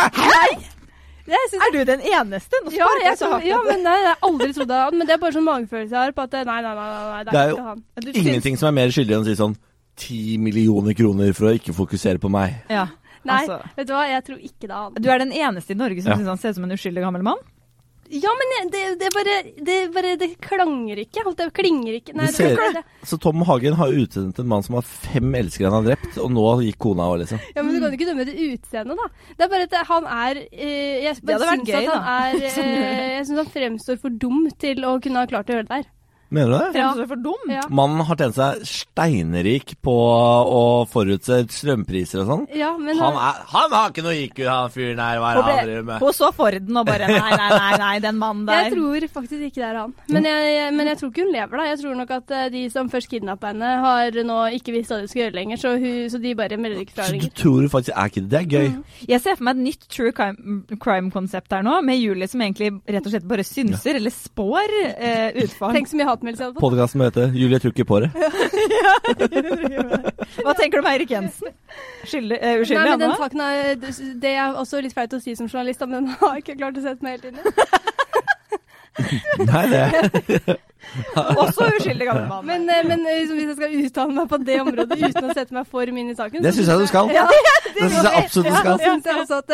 B: Jeg synes
A: Er du den eneste? Nå
B: Ja,
A: sparker
B: jeg,
A: jeg så
B: tror-
A: hardt.
B: ja, men nei, jeg har aldri trodd det. Men det er bare sånn magefølelse jeg har på at nei, nei, nei, nei, nei det
C: Det er
B: er
C: jo-
B: ikke han.
A: Du syns-
C: Ingenting som er mer skyldig enn å si sånn ti millioner kroner for å ikke fokusere på meg.
A: Ja.
B: Nei,
A: Altså.
B: vet du hva, jeg tror ikke det er han.
A: Du er den eneste i Norge som
C: Ja.
A: syns han ser ut som en uskyldig gammel mann?
B: Ja, men jeg- det, det bare Det, bare, det klanger ikke. Holdt jeg klinger ikke. Nei,
C: Du ser-
B: det, det,
C: Så Tom Hagen har utsendt en mann som har fem elskere han har drept, og nå gikk kona òg, liksom.
B: ja, men du kan jo ikke dømme det utseendet, da. Det er bare at han er eh, Jeg
A: Det
B: bare
A: hadde vært
B: syns
A: gøy,
B: at
A: da.
B: han er eh, Jeg syns han fremstår for dum til å kunne ha klart å gjøre det der.
C: Mener du det?
A: Fremstår
B: Ja.
A: for dum?
B: Ja.
C: Mannen har tjent seg steinrik på å forutse strømpriser og sånn.
B: Ja, men
C: Han, er, han har ikke noe IQ, han fyren her. Hva er
A: Hun,
C: det han
A: ble,
C: driver med?
A: hun så Forden og bare Nei, nei, nei, nei den mannen der.
B: Jeg tror faktisk ikke det er han. Men jeg, men jeg tror ikke hun lever, da. Jeg tror nok at eh, de som først kidnappa henne, har nå ikke visst hva de skal gjøre lenger, så, hun, så de bare melder ikke fra
C: Så du
B: lenger.
C: tror faktisk er ikke det? Det er gøy.
B: Mm.
A: Jeg ser for meg et nytt true crime- crime-konsept her nå, med Julie som egentlig rett og slett bare synser, eller spår, eh, utfall.
B: Tenk så mye hatmeldelse jeg hadde fått.
C: Podkasten med dette 'Julie tror ikke på det'.
A: Hva tenker du om Eirik Jensen? Skyldig, eh,
B: Nei,
A: uskyldig,
B: men
A: han
B: den
A: også?
B: saken er, det er også litt flaut å si som journalist, da, men den har jeg ikke klart å sette meg helt inn i.
C: Nei, det
A: Også uskyldig gammel mann.
B: Men, eh, men eh, liksom, hvis jeg skal uttale meg på det området uten å sette meg for mye inn i saken
C: Det syns jeg du skal.
B: Ja,
C: Det syns jeg absolutt du
B: Ja, så
C: skal.
B: synes jeg også at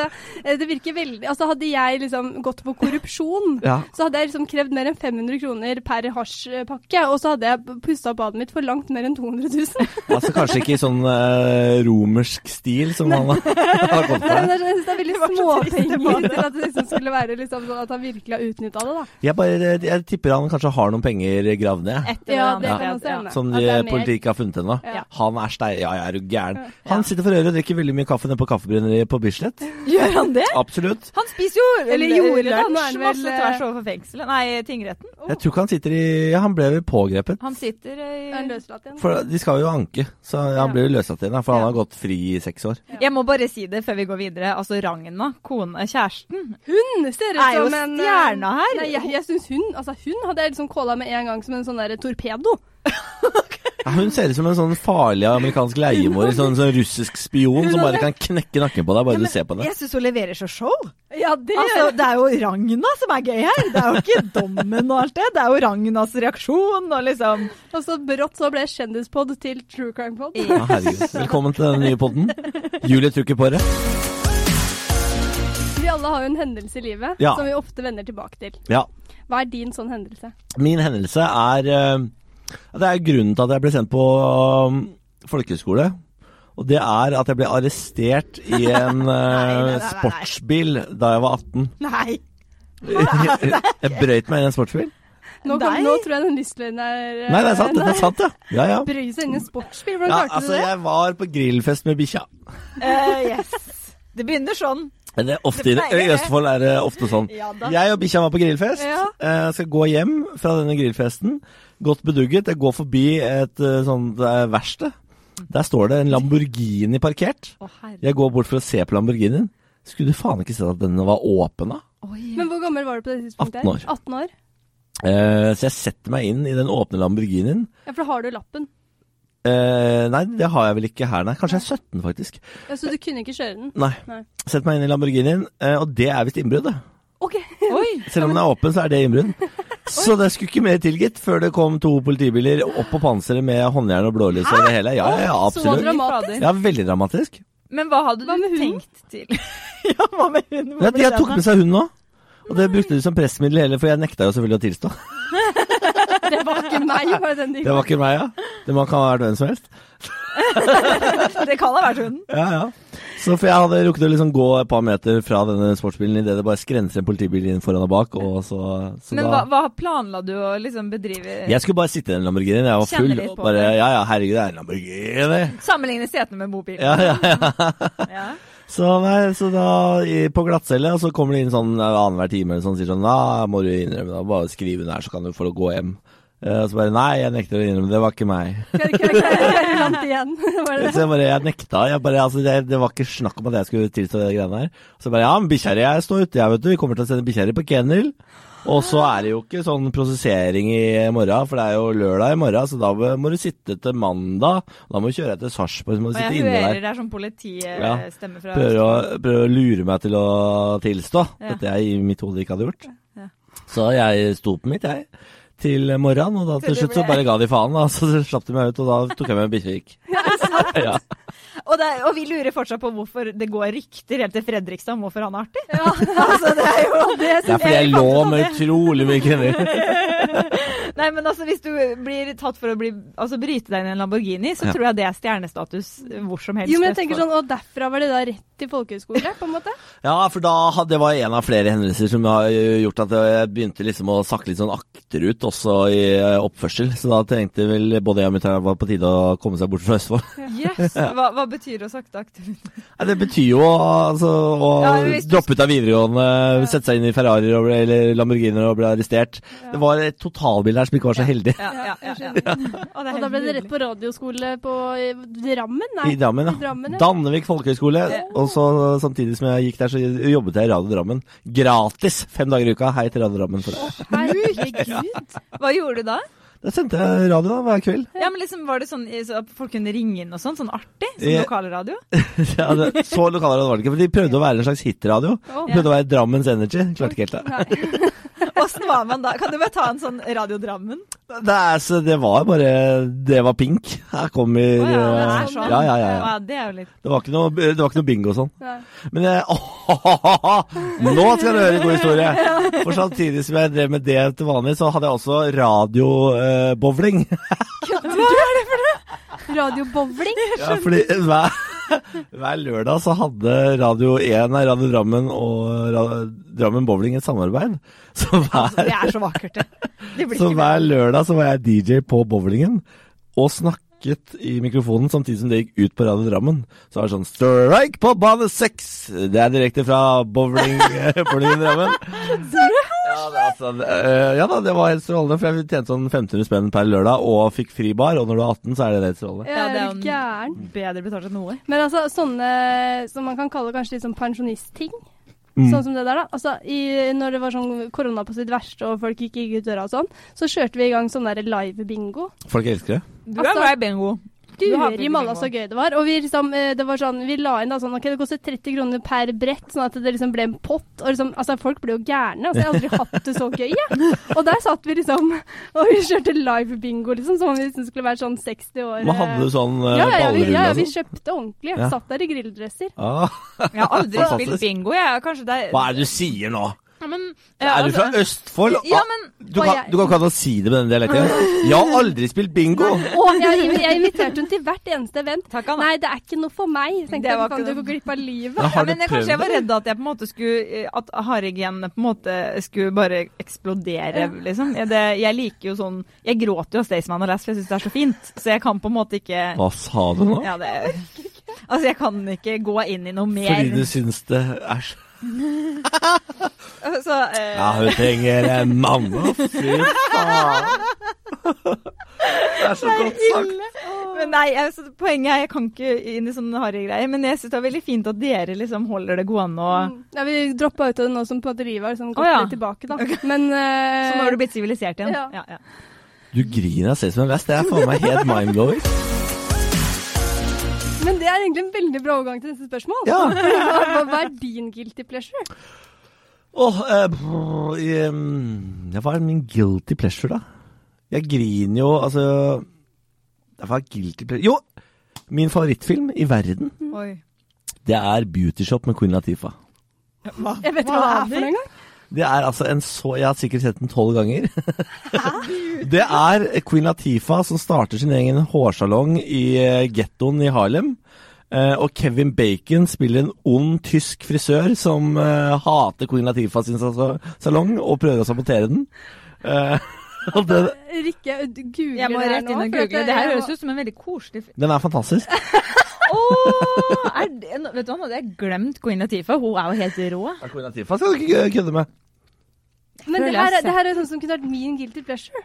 B: eh, det virker veldig Altså hadde jeg liksom gått på korrupsjon,
C: Ja.
B: så hadde jeg liksom krevd mer enn 500 kroner per hasjpakke, og så hadde jeg pussa opp badet mitt for langt mer enn 200 000.
C: Altså Kanskje ikke i sånn eh, romersk stil som han har kommet
B: Nei, men
C: på.
B: jeg synes det er veldig
A: var så trist, det
B: småpenger
A: badet.
B: til at det liksom skulle være liksom sånn at han virkelig har utnytta det, da.
C: Jeg, bare, jeg tipper han kanskje har noen penger gravd ned.
A: Et eller
B: Ja,
A: annet
B: det
A: sted,
B: kan også
A: ja.
B: hende.
C: Som
B: At
C: de
B: det er mer.
C: politiet ikke har funnet ennå.
B: Ja.
C: Han er stein... Ja, jeg er jo gæren. Han sitter for øret og drikker veldig mye kaffe nede på kaffebrenneriet på Bislett.
A: Gjør han det?
C: Absolutt.
A: Han spiser jo
B: Eller gjorde det,
A: lunsj
B: nå er det vel-
A: masse tvers overfor fengselet. Nei, tingretten.
C: Jeg tror ikke han sitter i Ja, han ble vel pågrepet.
A: Han sitter eh,
B: Er han løslatt igjen?
C: For de skal jo anke, så han
A: Ja.
C: ble jo løslatt igjen. da, For han
A: Ja.
C: har gått fri i seks år.
A: Jeg må bare si det før vi går videre. Altså Ragna, kone, kjæresten
B: Hun ser ut
A: Er jo
B: som en eh,
A: stjerna her.
B: Nei, jeg, jeg syns hun Altså, hun hadde jeg liksom calla med en gang som en sånn der torpedo.
C: Ja, hun ser ut som en sånn farlig amerikansk leiemor, en sånn, sånn russisk spion som bare kan knekke nakken på deg bare du ser på det.
A: Jeg syns hun leverer så show.
B: Ja, det
A: Altså, det er jo Ragna som er gøy her. Det er jo ikke dommen og alt det. Det er jo Ragnas reaksjon og liksom
B: Og så brått så ble kjendispod til true crime pod.
C: Ja, herregud. Velkommen til den nye podden. Julie tror ikke på det.
B: Vi alle har jo en hendelse i livet
C: Ja.
B: som vi ofte vender tilbake til.
C: Ja.
B: Hva er din sånn hendelse?
C: Min hendelse er eh, Det er grunnen til at jeg ble sendt på um, folkehøyskole. Og det er at jeg ble arrestert i en
A: nei, nei,
C: eh,
A: nei.
C: sportsbil da jeg var 18.
A: Nei.
C: Jeg brøyt meg inn i en sportsbil.
B: Nå, kom,
A: Nei.
B: nå tror jeg den lystløgnen er eh,
C: Nei, det er sant, det er sant, ja. Ja, ja.
B: Brøye seg inn i en sportsbil, hvordan
C: ja
B: klarte
C: altså,
B: du det?
C: jeg var på grillfest med bikkja.
A: Eh, yes. Det begynner sånn.
C: Men Det er ofte, i
A: Det
C: det
A: pleier
C: I
A: det.
C: Østfold er det ofte sånn.
A: Ja da.
C: Jeg og bikkja var på grillfest.
B: Ja.
C: Eh, skal gå hjem fra denne grillfesten. Godt bedugget. Jeg går forbi et eh, sånt eh, verksted. Der står det en Lamborghini parkert.
A: Å, herre.
C: Jeg går bort for å se på Lamborghinien. Skulle du faen ikke sett at denne var åpen, da?
A: Oi.
B: Men hvor gammel var du på det tidspunktet?
C: 18 år.
B: 18 år?
C: Eh, så jeg setter meg inn i den åpne Lamborghinien.
B: Ja, for da har du lappen.
C: Eh, nei, det har jeg vel ikke her, nei. Kanskje jeg er 17, faktisk.
B: Ja, Så du kunne ikke kjøre den?
C: Nei.
B: Nei.
C: Setter meg inn i Lamborghinien, eh, og det er visst innbrudd, det.
B: OK.
A: Oi.
C: Selv om den er åpen, så er det innbrudd. Så det skulle ikke mer til, gitt, før det kom to politibiler opp på panseret med håndjern og blålys og det hele. Ja, ja, ja,
B: Så
C: absolutt.
B: dramatisk.
C: Ja, veldig dramatisk.
A: Men hva hadde
B: Hva med
A: du
B: hunden?
A: tenkt til? ja, hva med hunden? Hvor
C: Ja,
A: ble
C: jeg tok
A: den
C: med
A: av?
C: seg hunden òg. Og det brukte de som pressmiddel heller, for jeg nekta jo selvfølgelig å tilstå.
B: Det var ikke meg, var det den de
C: Det var ikke meg, ja. Det man kan ha vært hvem som helst.
A: Det kan ha vært hunden.
C: Ja, ja. Så for jeg hadde rukket å liksom gå et par meter fra denne sportsbilen idet det bare skrenser en politibil inn foran og bak, og så, så
A: Men hva,
C: da
A: hva planla du å liksom bedrive?
C: Jeg skulle bare sitte i den Lamborghinien, jeg var
A: Kjenne
C: full.
A: litt på
C: og Bare,
A: det.
C: ja ja, herregud, det er en Lamborghini.
A: Sammenligne setene med mobilen.
C: Ja, ja, ja.
A: Ja.
C: Så, nei, så da i- på glattcelle, og så kommer det inn sånn eh, annenhver time eller sånn, sier sånn Da må du innrømme det, bare skriv under her, så kan du få lov å gå hjem. Eh, Og så bare Nei, jeg nekter å innrømme det, det var ikke meg.
B: vant igjen. Var det det?
C: Så jeg bare Jeg nekta. Jeg bare, altså, det, det var ikke snakk om at jeg skulle tilstå de greiene her. Så jeg bare Ja, men bikkja di er- står ute, jeg, vet du. Vi kommer til å sende bikkja di på kennel. Og så er det jo ikke sånn prosessering i morgen, for det er jo lørdag i morgen, så da må du sitte til mandag. Da må du kjøre etter Sarpsborg, så må
A: Og
C: du
A: jeg
C: sitte inne der.
A: hører det er sånn
C: Ja.
A: politistemme fra
C: prøver å, prøver å lure meg til å tilstå
A: Ja.
C: at jeg i mitt hode ikke hadde gjort.
A: Ja.
C: Så jeg sto på mitt, jeg, til morgenen, og da til
A: Til du
C: slutt så
A: ble-
C: bare ga de faen. Da, så slapp de meg ut, og da tok jeg meg en bikkje og gikk. Ja.
A: Og, det, er- og vi lurer fortsatt på hvorfor det går rykter helt til Fredrikstad om hvorfor han er artig.
B: Ja,
A: Altså, det er jo det
C: Det er sånn, fordi jeg lå med utrolig mye kvinner.
A: Nei, men altså, hvis du blir tatt for å bli, altså, bryte deg inn i en Lamborghini, så
C: Ja.
A: tror jeg det er stjernestatus hvor som helst.
B: Jo,
A: i
B: men jeg tenker
A: Østfold.
B: sånn, og derfra var det da rett til folkehøyskole, på en måte?
C: Ja, for da hadde, det var en av flere hendelser som har gjort at jeg begynte liksom å sakke litt sånn akterut også i eh, oppførsel. Så da tenkte vel både jeg og mutter'n var på tide å komme seg bort fra Østfold.
A: sånn, Yes, hva, hva betyr å sakte aktivt?
C: Nei, det betyr jo altså, å
A: Ja, hvis du-
C: droppe ut av videregående, sette seg inn i Ferrarier og bli- eller Lamborghinier og bli arrestert. Det var et totalbilde her som ikke var så heldig.
A: Ja, ja, ja, ja. Og,
B: Og da ble det rett på radioskole på eh, Drammen? Nei.
C: I Drammen,
B: I Drammen, ja.
C: Dannevik folkehøgskole. Og så samtidig som jeg gikk der, så jobbet jeg i Radio Drammen. Gratis! Fem dager i uka. Hei til Radio Drammen for det.
B: Herregud.
A: Hva gjorde du da?
C: Da sendte jeg radio da, hver kveld.
A: Ja, men liksom, Var det sånn eh, så at folk kunne ringe inn og sånn? Sånn artig? Som
C: Ja.
A: lokalradio?
C: Ja, det- så lokalradio var det ikke, for de prøvde å være en slags hitradio. De Prøvde å være Drammens Energy. Klarte ikke helt det.
A: Åssen var man da? Kan du bare ta en sånn Radio Drammen?
C: Det, er, så det var bare Det var pink. Her kommer
A: Å ja, det
C: eh,
A: er sånn.
C: ja, ja, ja, ja.
A: Å, det er jo litt
C: Det var ikke noe, det var ikke noe bingo og sånn.
B: Nei.
C: Men jeg, nå skal du høre en god historie! For samtidig som jeg drev med det til vanlig, så hadde jeg også eh, radiobowling.
B: Radiobowling?
C: ja, fordi hver, hver lørdag så hadde Radio 1, nei, Radio Drammen og Ra- Drammen Bowling et samarbeid. Så hver,
A: Det er så vakkert, det. Det blir
C: så
A: ikke
C: hver lørdag så var jeg DJ på bowlingen og snakket i mikrofonen samtidig som det gikk ut på Radio Drammen. Så var det sånn Strike på bane seks! Det er direkte fra bowling, bowling i Drammen. Ja, det, er sånn, eh, ja da, det var helt strålende, for jeg tjente sånn 1500 spenn per lørdag og fikk fri bar. Og når du er 18, så er det helt strålende.
B: Ja,
A: Ja, det
B: det
A: er
B: er
A: jo-
B: Eh, gæren.
A: bedre betalt enn noe.
B: Men altså, sånne som man kan kalle kanskje litt sånn pensjonistting.
C: Mm.
B: Sånn som det der, da. Altså, i, når det var sånn korona på sitt verste og folk ikke gikk ut døra og sånn, så kjørte vi i gang sånn der live-bingo.
C: Folk elsker det.
A: Du
B: Altså-
A: er glad i bingo. Du har
B: Guri malla så gøy det var. Og vi liksom, eh, det var sånn, vi la inn da sånn, ok, det kostet 30 kroner per brett, sånn at det liksom ble en pott. Og liksom, altså folk ble jo gærne. Altså, jeg har aldri hatt det så gøy, jeg. Og der satt vi liksom, og vi kjørte live bingo liksom, som om vi liksom skulle vært sånn 60 år.
C: Man hadde
B: eh,
C: du sånn eh,
B: ja, ja, ja, vi,
C: ballerunde
B: ja, ja,
C: og
B: vi
C: sånn?
B: kjøpte ordentlig.
C: Ja.
B: Satt der i grilldresser.
C: Ah,
A: Jeg har aldri
C: Fantastisk.
A: spilt bingo, jeg. Kanskje det er
C: hva er det du sier nå?
A: Ja, men,
C: Er du
B: altså-
C: fra Østfold?
A: Ja,
C: Ah,
A: men
C: du,
B: og
C: kan,
B: jeg-
C: du kan ikke ha å si det med den dialekten. Jeg har aldri spilt bingo!
B: Og jeg, jeg inviterte henne til hvert eneste event.
A: Takk, Anna.
B: Nei, det er ikke noe for meg.
A: Det
B: tenkte jeg,
A: var
B: "Faen,
A: ikke
B: du
A: det.
B: går glipp av livet.
C: Men
A: ja,
C: har du
A: men jeg,
C: prøvd
A: kanskje jeg var
C: det?
A: redd at jeg på en måte skulle eh, At haregenene på en måte skulle bare eksplodere, liksom. Jeg, det, jeg liker jo sånn Jeg gråter jo av Staysman og Lass, for jeg syns det er så fint. Så jeg kan på en måte ikke
C: Hva sa du nå?
A: Ja, det Altså, jeg kan ikke gå inn i noe mer.
C: Fordi du syns det er så
A: Så, eh,
C: Ja, hun trenger en mann. Å, Fy faen. Det er så godt sagt.
A: Men nei, altså, poenget er jeg kan ikke inn i sånne harde greier. Men jeg syns det er veldig fint at dere liksom holder det gående og
B: Mm. Ja, vi droppa ut av det nå som på at livet har liksom gått
A: Å, ja.
B: litt tilbake, da. Men eh,
A: Så nå har du blitt sivilisert igjen?
B: Ja.
A: Ja, ja.
C: Du griner av Sesame Vest. Det er faen meg helt mindblowing.
B: Men det er egentlig en veldig bra overgang til neste spørsmål.
C: Ja.
B: hva, hva- hva er din guilty pleasure?
C: Åh, eh, brr, ehm, ja, hva er min guilty pleasure, da? Jeg griner jo, altså ja, Hva er guilty pleasure Jo! Min favorittfilm i verden,
B: Mm.
A: Oi.
C: det er Beauty Shop med Queen Latifah.
A: Hva?
B: Jeg vet ikke hva det er for noe engang.
C: Det er altså en så Jeg har sikkert sett den tolv ganger. det er Queen Latifah som starter sin egen hårsalong i eh, gettoen i Harlem. Eh, og Kevin Bacon spiller en ond tysk frisør som eh, hater Queen Latifah sin sa- salong og prøver å sabotere den. Eh, og den,
B: Rikke du googler
A: Jeg må
B: det her
A: rett inn og
B: nå, for at
A: google. Det her
B: jeg-
A: høres ut som en veldig koselig film.
C: den er fantastisk.
A: Åh, er det, nå- vet du hva, nå hadde jeg glemt Queen Latifah. Hun er jo helt rå.
C: Ja, Queen Latifah skal du ikke kødde med.
B: Men det
A: Føler jeg
B: her, er-
A: sett.
B: det her er sånn som kunne vært min guilty pleasure.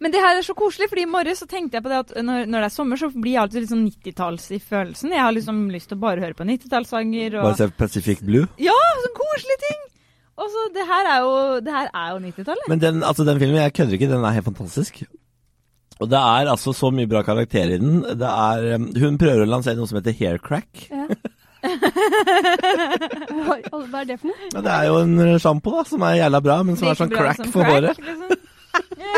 A: Men det her er så koselig, fordi i morges så tenkte jeg på det at når, når det er sommer, så blir jeg alltid litt sånn 90-talls i følelsen. Jeg har liksom lyst til å bare høre på 90-tallssanger og
C: Bare se Pacific Blue.
A: Ja, så koselige ting! Og så det her er jo, det her er jo 90-tallet.
C: Men den, altså, den filmen, jeg kødder ikke, den er helt fantastisk. Og det er altså så mye bra karakterer i den. Det er, um, hun prøver å lansere noe som heter haircrack.
B: Ja. Oi, alle- Hva er det for noe?
C: Ja, det er jo en uh, sjampo da, som er jævla bra, men som
A: Det
C: er sånn
A: ikke bra
C: crack
A: som
C: for håret.
A: liksom. Ja.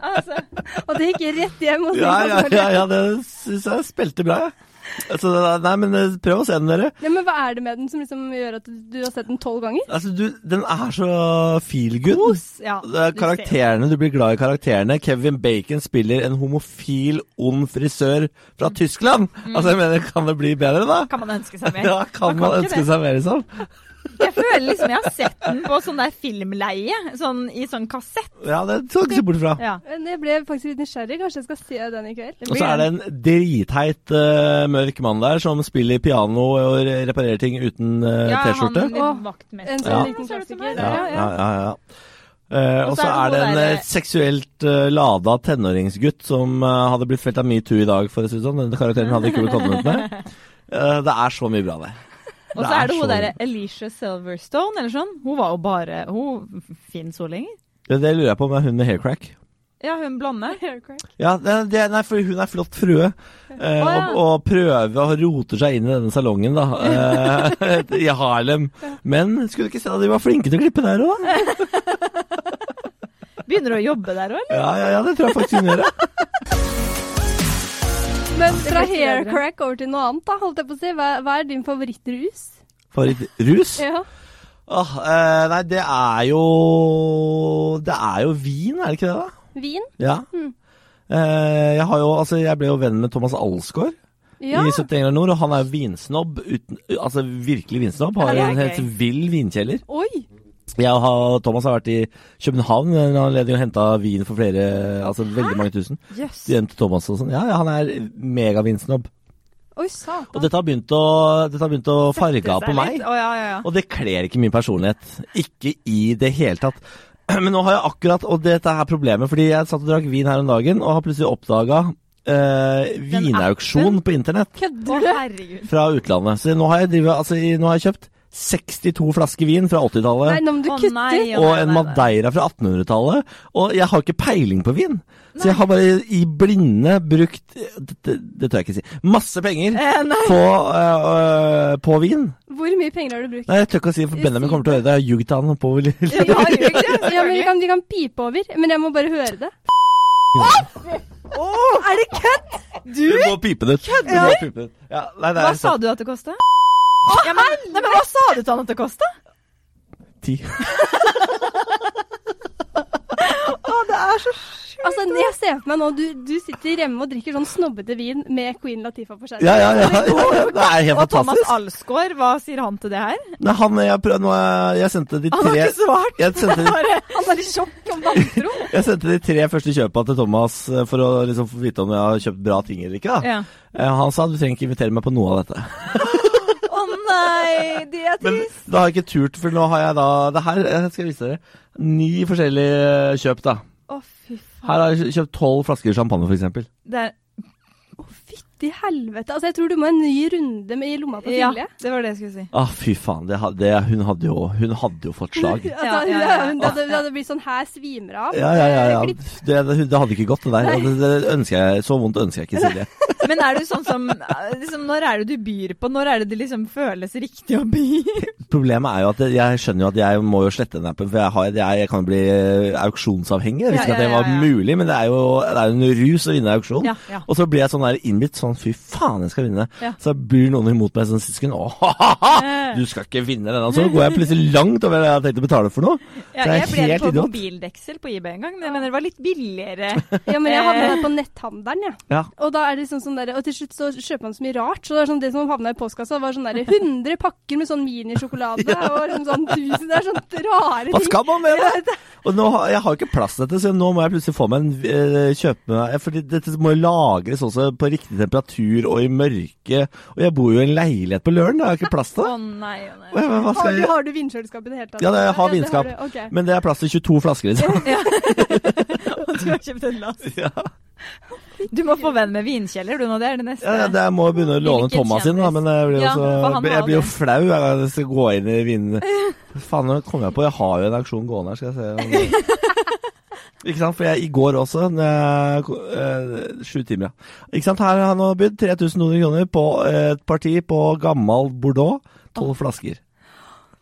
A: altså,
B: Og det gikk rett hjem. Og
C: Ja, ja, ja, ja, det syns jeg spilte bra, jeg. Altså, det er- nei, men uh, prøv å se den, dere.
B: Ja, men hva er det med den som liksom gjør at du har sett den tolv ganger?
C: Altså, du, den er så feel good.
A: kos, ja.
C: Det er karakterene, du blir glad i karakterene. Kevin Bacon spiller en homofil, ond frisør fra
A: Mm.
C: Tyskland. Altså, jeg mener, kan det bli bedre, da?
A: Kan man ønske seg mer?
C: Ja, kan man
A: ikke
C: ønske
A: det.
C: seg mer, liksom?
A: Jeg føler liksom jeg har sett den på sånn der filmleie, sånn i sånn kassett.
C: Ja, det skal du ikke se bort fra.
A: Ja.
B: Men Jeg ble faktisk litt nysgjerrig. Kanskje jeg skal se den i kveld?
A: Det
C: Og
A: blir
C: så er det en dritheit eh, mørk mann der som spiller piano og re- reparerer ting uten eh,
A: ja,
C: T-skjorte.
A: Han litt vaktmester.
B: En sånn
C: Ja.
B: liten klassiker.
C: Ja,
B: ja,
C: ja, ja. ja. Eh, og så er det en
A: noe der-
C: eh, seksuelt uh, lada tenåringsgutt som eh, hadde blitt felt av metoo i dag, for å si det sånn. Denne karakteren hadde ikke blitt kommet ut med. Eh, det er så mye bra, det.
A: Og så er det
C: så-
A: hun derre Alicia Silverstone, eller sånn. Hun var jo bare Hun Finn Solinger?
C: Det, det lurer jeg på om det er hun med haircrack.
A: Ja, hun blonde.
B: Haircrack.
C: Ja, det, det, nei, for hun er flott frue, eh,
A: Å, ja.
C: og, og prøver og roter seg inn i denne salongen, da, eh, i Harlem. Men skulle du ikke se at de var flinke til å klippe der òg?
A: Begynner å jobbe der òg, eller?
C: Ja, ja, ja, det tror jeg faktisk hun gjør. ja.
B: Men fra
A: blir ikke bedre.
B: haircrack over til noe annet, da, holdt jeg på å si. Hva, hva er din favorittrus?
C: Favorittrus?
B: Ja.
C: Åh, eh, nei, det er jo Det er jo vin, er det ikke det, da?
B: Vin?
C: Ja.
A: Mm.
C: Eh, jeg, har jo, altså, jeg ble jo venn med Thomas Alsgaard
B: Ja.
C: i 70 Engler Nord, og han er jo vinsnobb. Uten, altså virkelig vinsnobb. Har
A: Ja, det er
C: en helt
A: gøy.
C: vill vinkjeller.
B: Oi!
C: Jeg og Thomas har vært i København ved en anledning og henta vin for flere, altså veldig mange tusen.
A: Jøss.
C: Hjem til Thomas og sånn. Ja, ja, han er megavinsnobb.
B: Oi,
C: Og
B: satan.
C: dette har begynt å, dette har begynt å farge av på meg.
A: Å, ja, ja, ja.
C: Og det kler ikke min personlighet. Ikke i det hele tatt. Men nå har jeg akkurat Og dette er problemet, fordi jeg satt og drakk vin her om dagen, og har plutselig oppdaga eh,
A: appen?
C: vinauksjon på internett
A: Å,
B: Kødder du?
A: herregud.
C: fra utlandet. Så nå har jeg, drivet, altså, i- nå har jeg kjøpt 62 flasker vin fra 80-tallet.
B: Nei, nå må du
A: Å,
B: kutte
A: nei,
B: ut.
A: ja,
C: og
A: nei,
C: en
A: nei, nei.
C: Madeira fra 1800-tallet. Og jeg har ikke peiling på vin. Så jeg har bare i blinde brukt eh, Det, det, det tør jeg ikke si. Masse penger
A: Eh, nei.
C: på, eh, på vin.
B: Hvor mye penger har du brukt?
C: Nei, jeg tør ikke å si det, for Benjamin kommer til å høre det. Jeg har ljuget til han på
A: Ja, vi har jo ikke det,
B: Ja, men vi
A: selvfølgelig.
B: kan, vi kan pipe over, men jeg må bare høre det.
A: Åh, er det kødd? Du?
C: Du må pipe det ut. Du må pipe det ut. Ja, nei, det
A: Hva
C: er sånn-
A: sa du at det kosta? Ja, men, nei, men hva sa du til han at det kosta?
C: Ti.
A: Å, det er så sjukt.
B: Altså, jeg ser for meg nå, du, du sitter hjemme og drikker sånn snobbete vin med Queen Latifa på skjermen.
C: Ja, ja, ja, ja. Det er helt
A: Og Thomas
C: fantastisk.
A: Alsgaard, hva sier han til det her?
C: Nei, han, jeg, prøvde, nå har jeg- jeg sendte de
A: Han har
C: tre
A: ikke svart.
C: jeg sendte, de-
A: Bare,
B: Han er i sjokk om vantro.
C: jeg sendte de tre første kjøpa til Thomas eh, for å liksom, få vite om jeg har kjøpt bra ting eller ikke. Da.
A: ja.
C: Eh, Han sa du trenger ikke invitere meg på noe av dette.
A: Å nei, det er
C: Men
A: trist.
C: da har jeg ikke turt, for nå har jeg da Det her eh, skal jeg vise dere. Ni forskjellige eh, kjøp, da.
A: Å, fy faen.
C: Her har jeg kjø- kjøpt tolv flasker champagne, f.eks.
A: Det er,
B: Fytti helvete. Altså, jeg tror du må en ny runde med i lomma på
A: ja,
B: Silje.
A: det var det jeg skulle si.
C: Ah, fy faen. Det, ha- det, hun, hadde jo, hun hadde jo fått slag.
B: Altså,
A: Ja, ja, ja.
B: hun- Det, det hadde blitt sånn her svimer av.
C: Ja, ja, ja. ja.
B: Eh, klipp.
C: Det, det, hun- det hadde ikke gått, det der. Og Det, det ønsker jeg, så vondt ønsker jeg ikke, Silje.
A: Men er du sånn som eh, liksom, Når er det du byr på? Når er det det liksom føles riktig å by?
C: Problemet er jo at jeg skjønner jo at jeg må jo slette den appen, for jeg, har, jeg, jeg kan bli eh, auksjonsavhengig. Jeg
A: Ja,
C: visste
A: ja,
C: ikke at det
A: ja,
C: var
A: ja.
C: mulig, men det er jo det er jo en rus å vinne auksjon.
A: Ja, ja.
C: Og så blir jeg sånn der innbitt sånn fy faen, jeg skal vinne.
A: Ja.
C: Så blir noen imot meg sånn siste sekund. Å, ha, ha, ha!
A: Eh,
C: Du skal ikke vinne denne. Så går jeg plutselig langt over det jeg har tenkt å betale for noe.
A: Ja,
C: Det er
A: jeg ble det
C: helt
A: på
C: idiot.
A: mobildeksel på IB en gang. men Jeg mener det var litt billigere.
B: Ja, men jeg havna
A: Eh.
B: der på netthandelen, jeg.
C: Ja.
B: Og da er det liksom sånn der, og til slutt så kjøper man så mye rart. Så det, er sånn, det som havna i postkassa, var sånn der 100 pakker med sånn minisjokolade. Og liksom sånn tusen, Det er sånn rare
C: Hva
B: ting.
C: skal man med det? Og nå har, jeg har ikke plass til dette, så nå må jeg plutselig få meg en eh, kjøpe meg Fordi dette må jo lagres også på riktig temperatur og i mørke. Og jeg bor jo i en leilighet på Løren, da har jeg ikke plass til
A: Å
C: det.
A: nei, å nei.
C: Og jeg bare, Hva
B: Har
C: skal
B: du,
C: jeg
B: har du vinkjøleskap i det hele tatt?
C: Ja, det- jeg har
B: det
C: vinskap.
B: du. Ok.
C: Men det er plass til 22 flasker, liksom.
A: Du skulle ha kjøpt en lass.
C: Ja.
A: Du må få venn med vinkjeller, du nå. Det er det neste.
C: Ja, ja, det jeg må begynne å låne
A: Hvilken
C: Thomas sin, da,
A: kjendis?
C: men jeg blir jo,
A: Ja, for han
C: så,
A: har
C: jeg blir jo
A: det.
C: flau hver gang jeg skal gå inn i vinen. Faen, nå kom jeg på, jeg har jo en auksjon gående her, skal jeg se. om- Ikke sant, for jeg, i går også, når jeg, ko- eh, sju timer, ja. Ikke sant, her har han nå bydd 3200 kroner på eh, et parti på gammel Bordeaux, 12 flasker.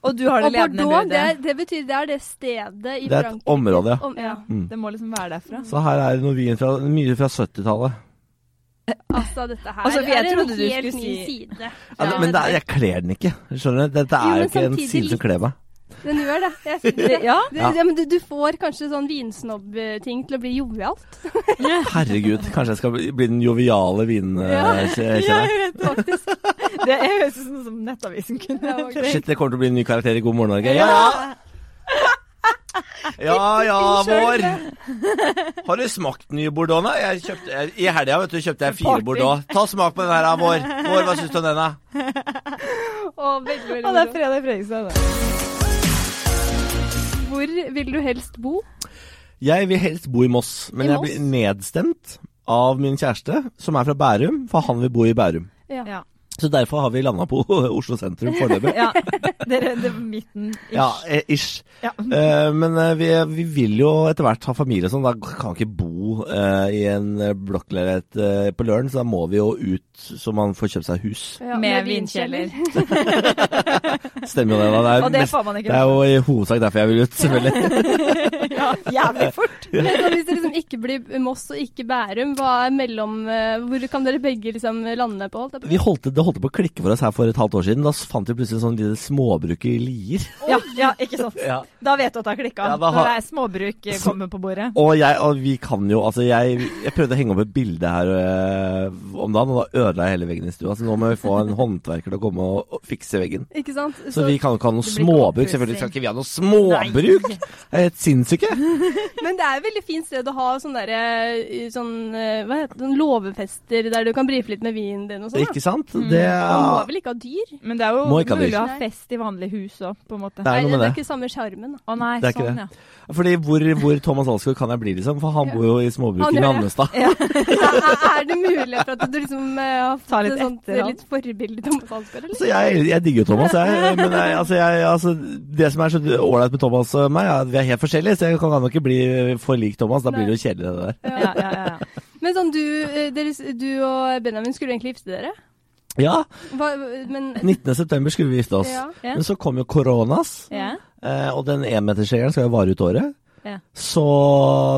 A: Og du har det
B: Og
A: ledende
B: Bordeaux,
A: budet.
B: det, er- det betyr det er det stedet i
C: Det er et
B: Frankrike.
C: område, ja.
B: Om, ja.
A: Det må liksom være derfra.
C: Så her er det noe vin fra, mye fra 70-tallet.
B: Altså, dette her
A: Altså, for jeg
B: er en
A: trodde du
B: helt
A: skulle
B: ny
A: si-
B: side.
C: Ja,
A: Ja,
C: Altså, men det er, jeg kler den ikke, skjønner du? Dette
B: Jo,
C: er jo
B: men
C: ikke en
B: samtidig
C: side som
B: litt.
C: kler meg.
B: Den gjør det. Jeg synes det.
A: Det- Ja.
B: Du,
C: Ja.
B: ja, men du, du får kanskje sånn vinsnobb-ting til å bli jovialt,
C: Herregud, kanskje jeg skal bli bli den joviale vinkjenneren.
B: faktisk.
A: Det er- høres ut som- som Nettavisen kunne
B: Ja, ok.
A: trengt.
C: Shit, det kommer til å bli en ny karakter i God morgen Norge. Ja ja, ja vår. Har du smakt den nye Bordeaux? da? Jeg kjøpte, jeg, I helga vet du, kjøpte jeg fire
A: Party.
C: Bordeaux. Ta og smak på den her, da, Vår. Vår, Hva syns du om den? da?
B: Og veldig, veldig
A: Å, det er
B: moro.
A: fredag i Fredrikstad. da.
B: Hvor vil du helst bo?
C: Jeg vil helst bo i Moss, men
B: I
C: jeg blir nedstemt av min kjæreste, som er fra Bærum, for han vil bo i Bærum.
B: Ja.
A: Ja.
C: Så derfor har vi landa på Oslo sentrum foreløpig.
A: ja. Dere, det var midten. Ish.
C: Ja, eh, ish.
A: Ja.
C: Eh, men eh, vi, vi vil jo etter hvert ha familie og sånn. Da kan vi ikke bo eh, i en eh, blokkleilighet eh, på Løren, så da må vi jo ut så man får kjøpt seg hus.
B: Ja,
A: Med vinkjeller.
C: Stemmer jo det? da? Det er,
A: Og det
C: mest-
A: får man ikke.
C: det er jo i hovedsak derfor jeg vil ut, selvfølgelig.
A: Ja, jævlig fort.
B: Men så hvis det liksom ikke blir Moss og ikke Bærum, hva er mellom eh, Hvor kan dere begge liksom lande på? holdt jeg på å si?
C: Vi holdt, det holdt på å klikke for oss her for et halvt år siden. Da fant vi plutselig en sånn lite småbruk i Lier.
A: Ja, ja, ikke sant.
C: Ja.
A: Da vet du at det har klikka.
C: Ja, da har-
A: Når det er småbruk eh, kommer på bordet.
C: Og, jeg, og vi kan jo Altså, jeg, jeg prøvde å henge opp et bilde her eh, om dagen, og da ødela jeg hele veggen i stua. Så nå må vi få en håndverker til å komme og, og fikse veggen.
B: Ikke sant?
C: Så vi kan jo ikke ha noe
A: blir ikke
C: småbruk.
A: oppussing.
C: Selvfølgelig skal ikke vi ha noe småbruk! Det er helt sinnssykt ikke.
B: Men det er et veldig fint sted å ha sånn derre eh, sånn, eh, Hva heter det? sånn Låvefester der du kan brife litt med vinen din og sånn. da.
C: Ikke sant? Det
B: Man må
C: er
B: vel ikke ha dyr?
A: Men det er jo
C: Må ikke ha
A: mulig
C: dyr.
A: å ha fest i vanlige hus òg, på en måte.
C: det er noe med
B: det
C: det.
B: er ikke samme sjarmen. da.
A: Å nei,
C: Det er ikke
A: sånn,
C: det. Fordi hvor, hvor Thomas Alsgaard kan jeg bli, liksom? For han bor jo i småbruken
B: Han gjør
C: i
B: det.
C: Andestad.
B: Er er det mulig for at du liksom eh, har
A: Ta
B: fått
A: litt
B: et sånt,
A: etter
B: eh,
A: han.
B: litt forbilde i Thomas Alsgaard, eller?
C: Så jeg, jeg digger jo Thomas, jeg. Men jeg, altså, jeg, altså, det som er så ålreit med Thomas og meg, er at vi er helt forskjellige, så jeg kan nok ikke bli for lik Thomas. Da blir det jo kjedelig, det der.
A: ja. Ja, ja, ja, ja.
B: Men sånn, du, eh, deres, du og Benjamin skulle egentlig gifte dere?
C: Ja,
B: Hva, men
C: 19.9 skulle vi gifte oss.
B: ja.
A: Ja.
C: Men så kom jo koronas,
A: Ja.
C: eh, og den enmetersregelen skal jo vare ut året.
A: Ja.
C: Så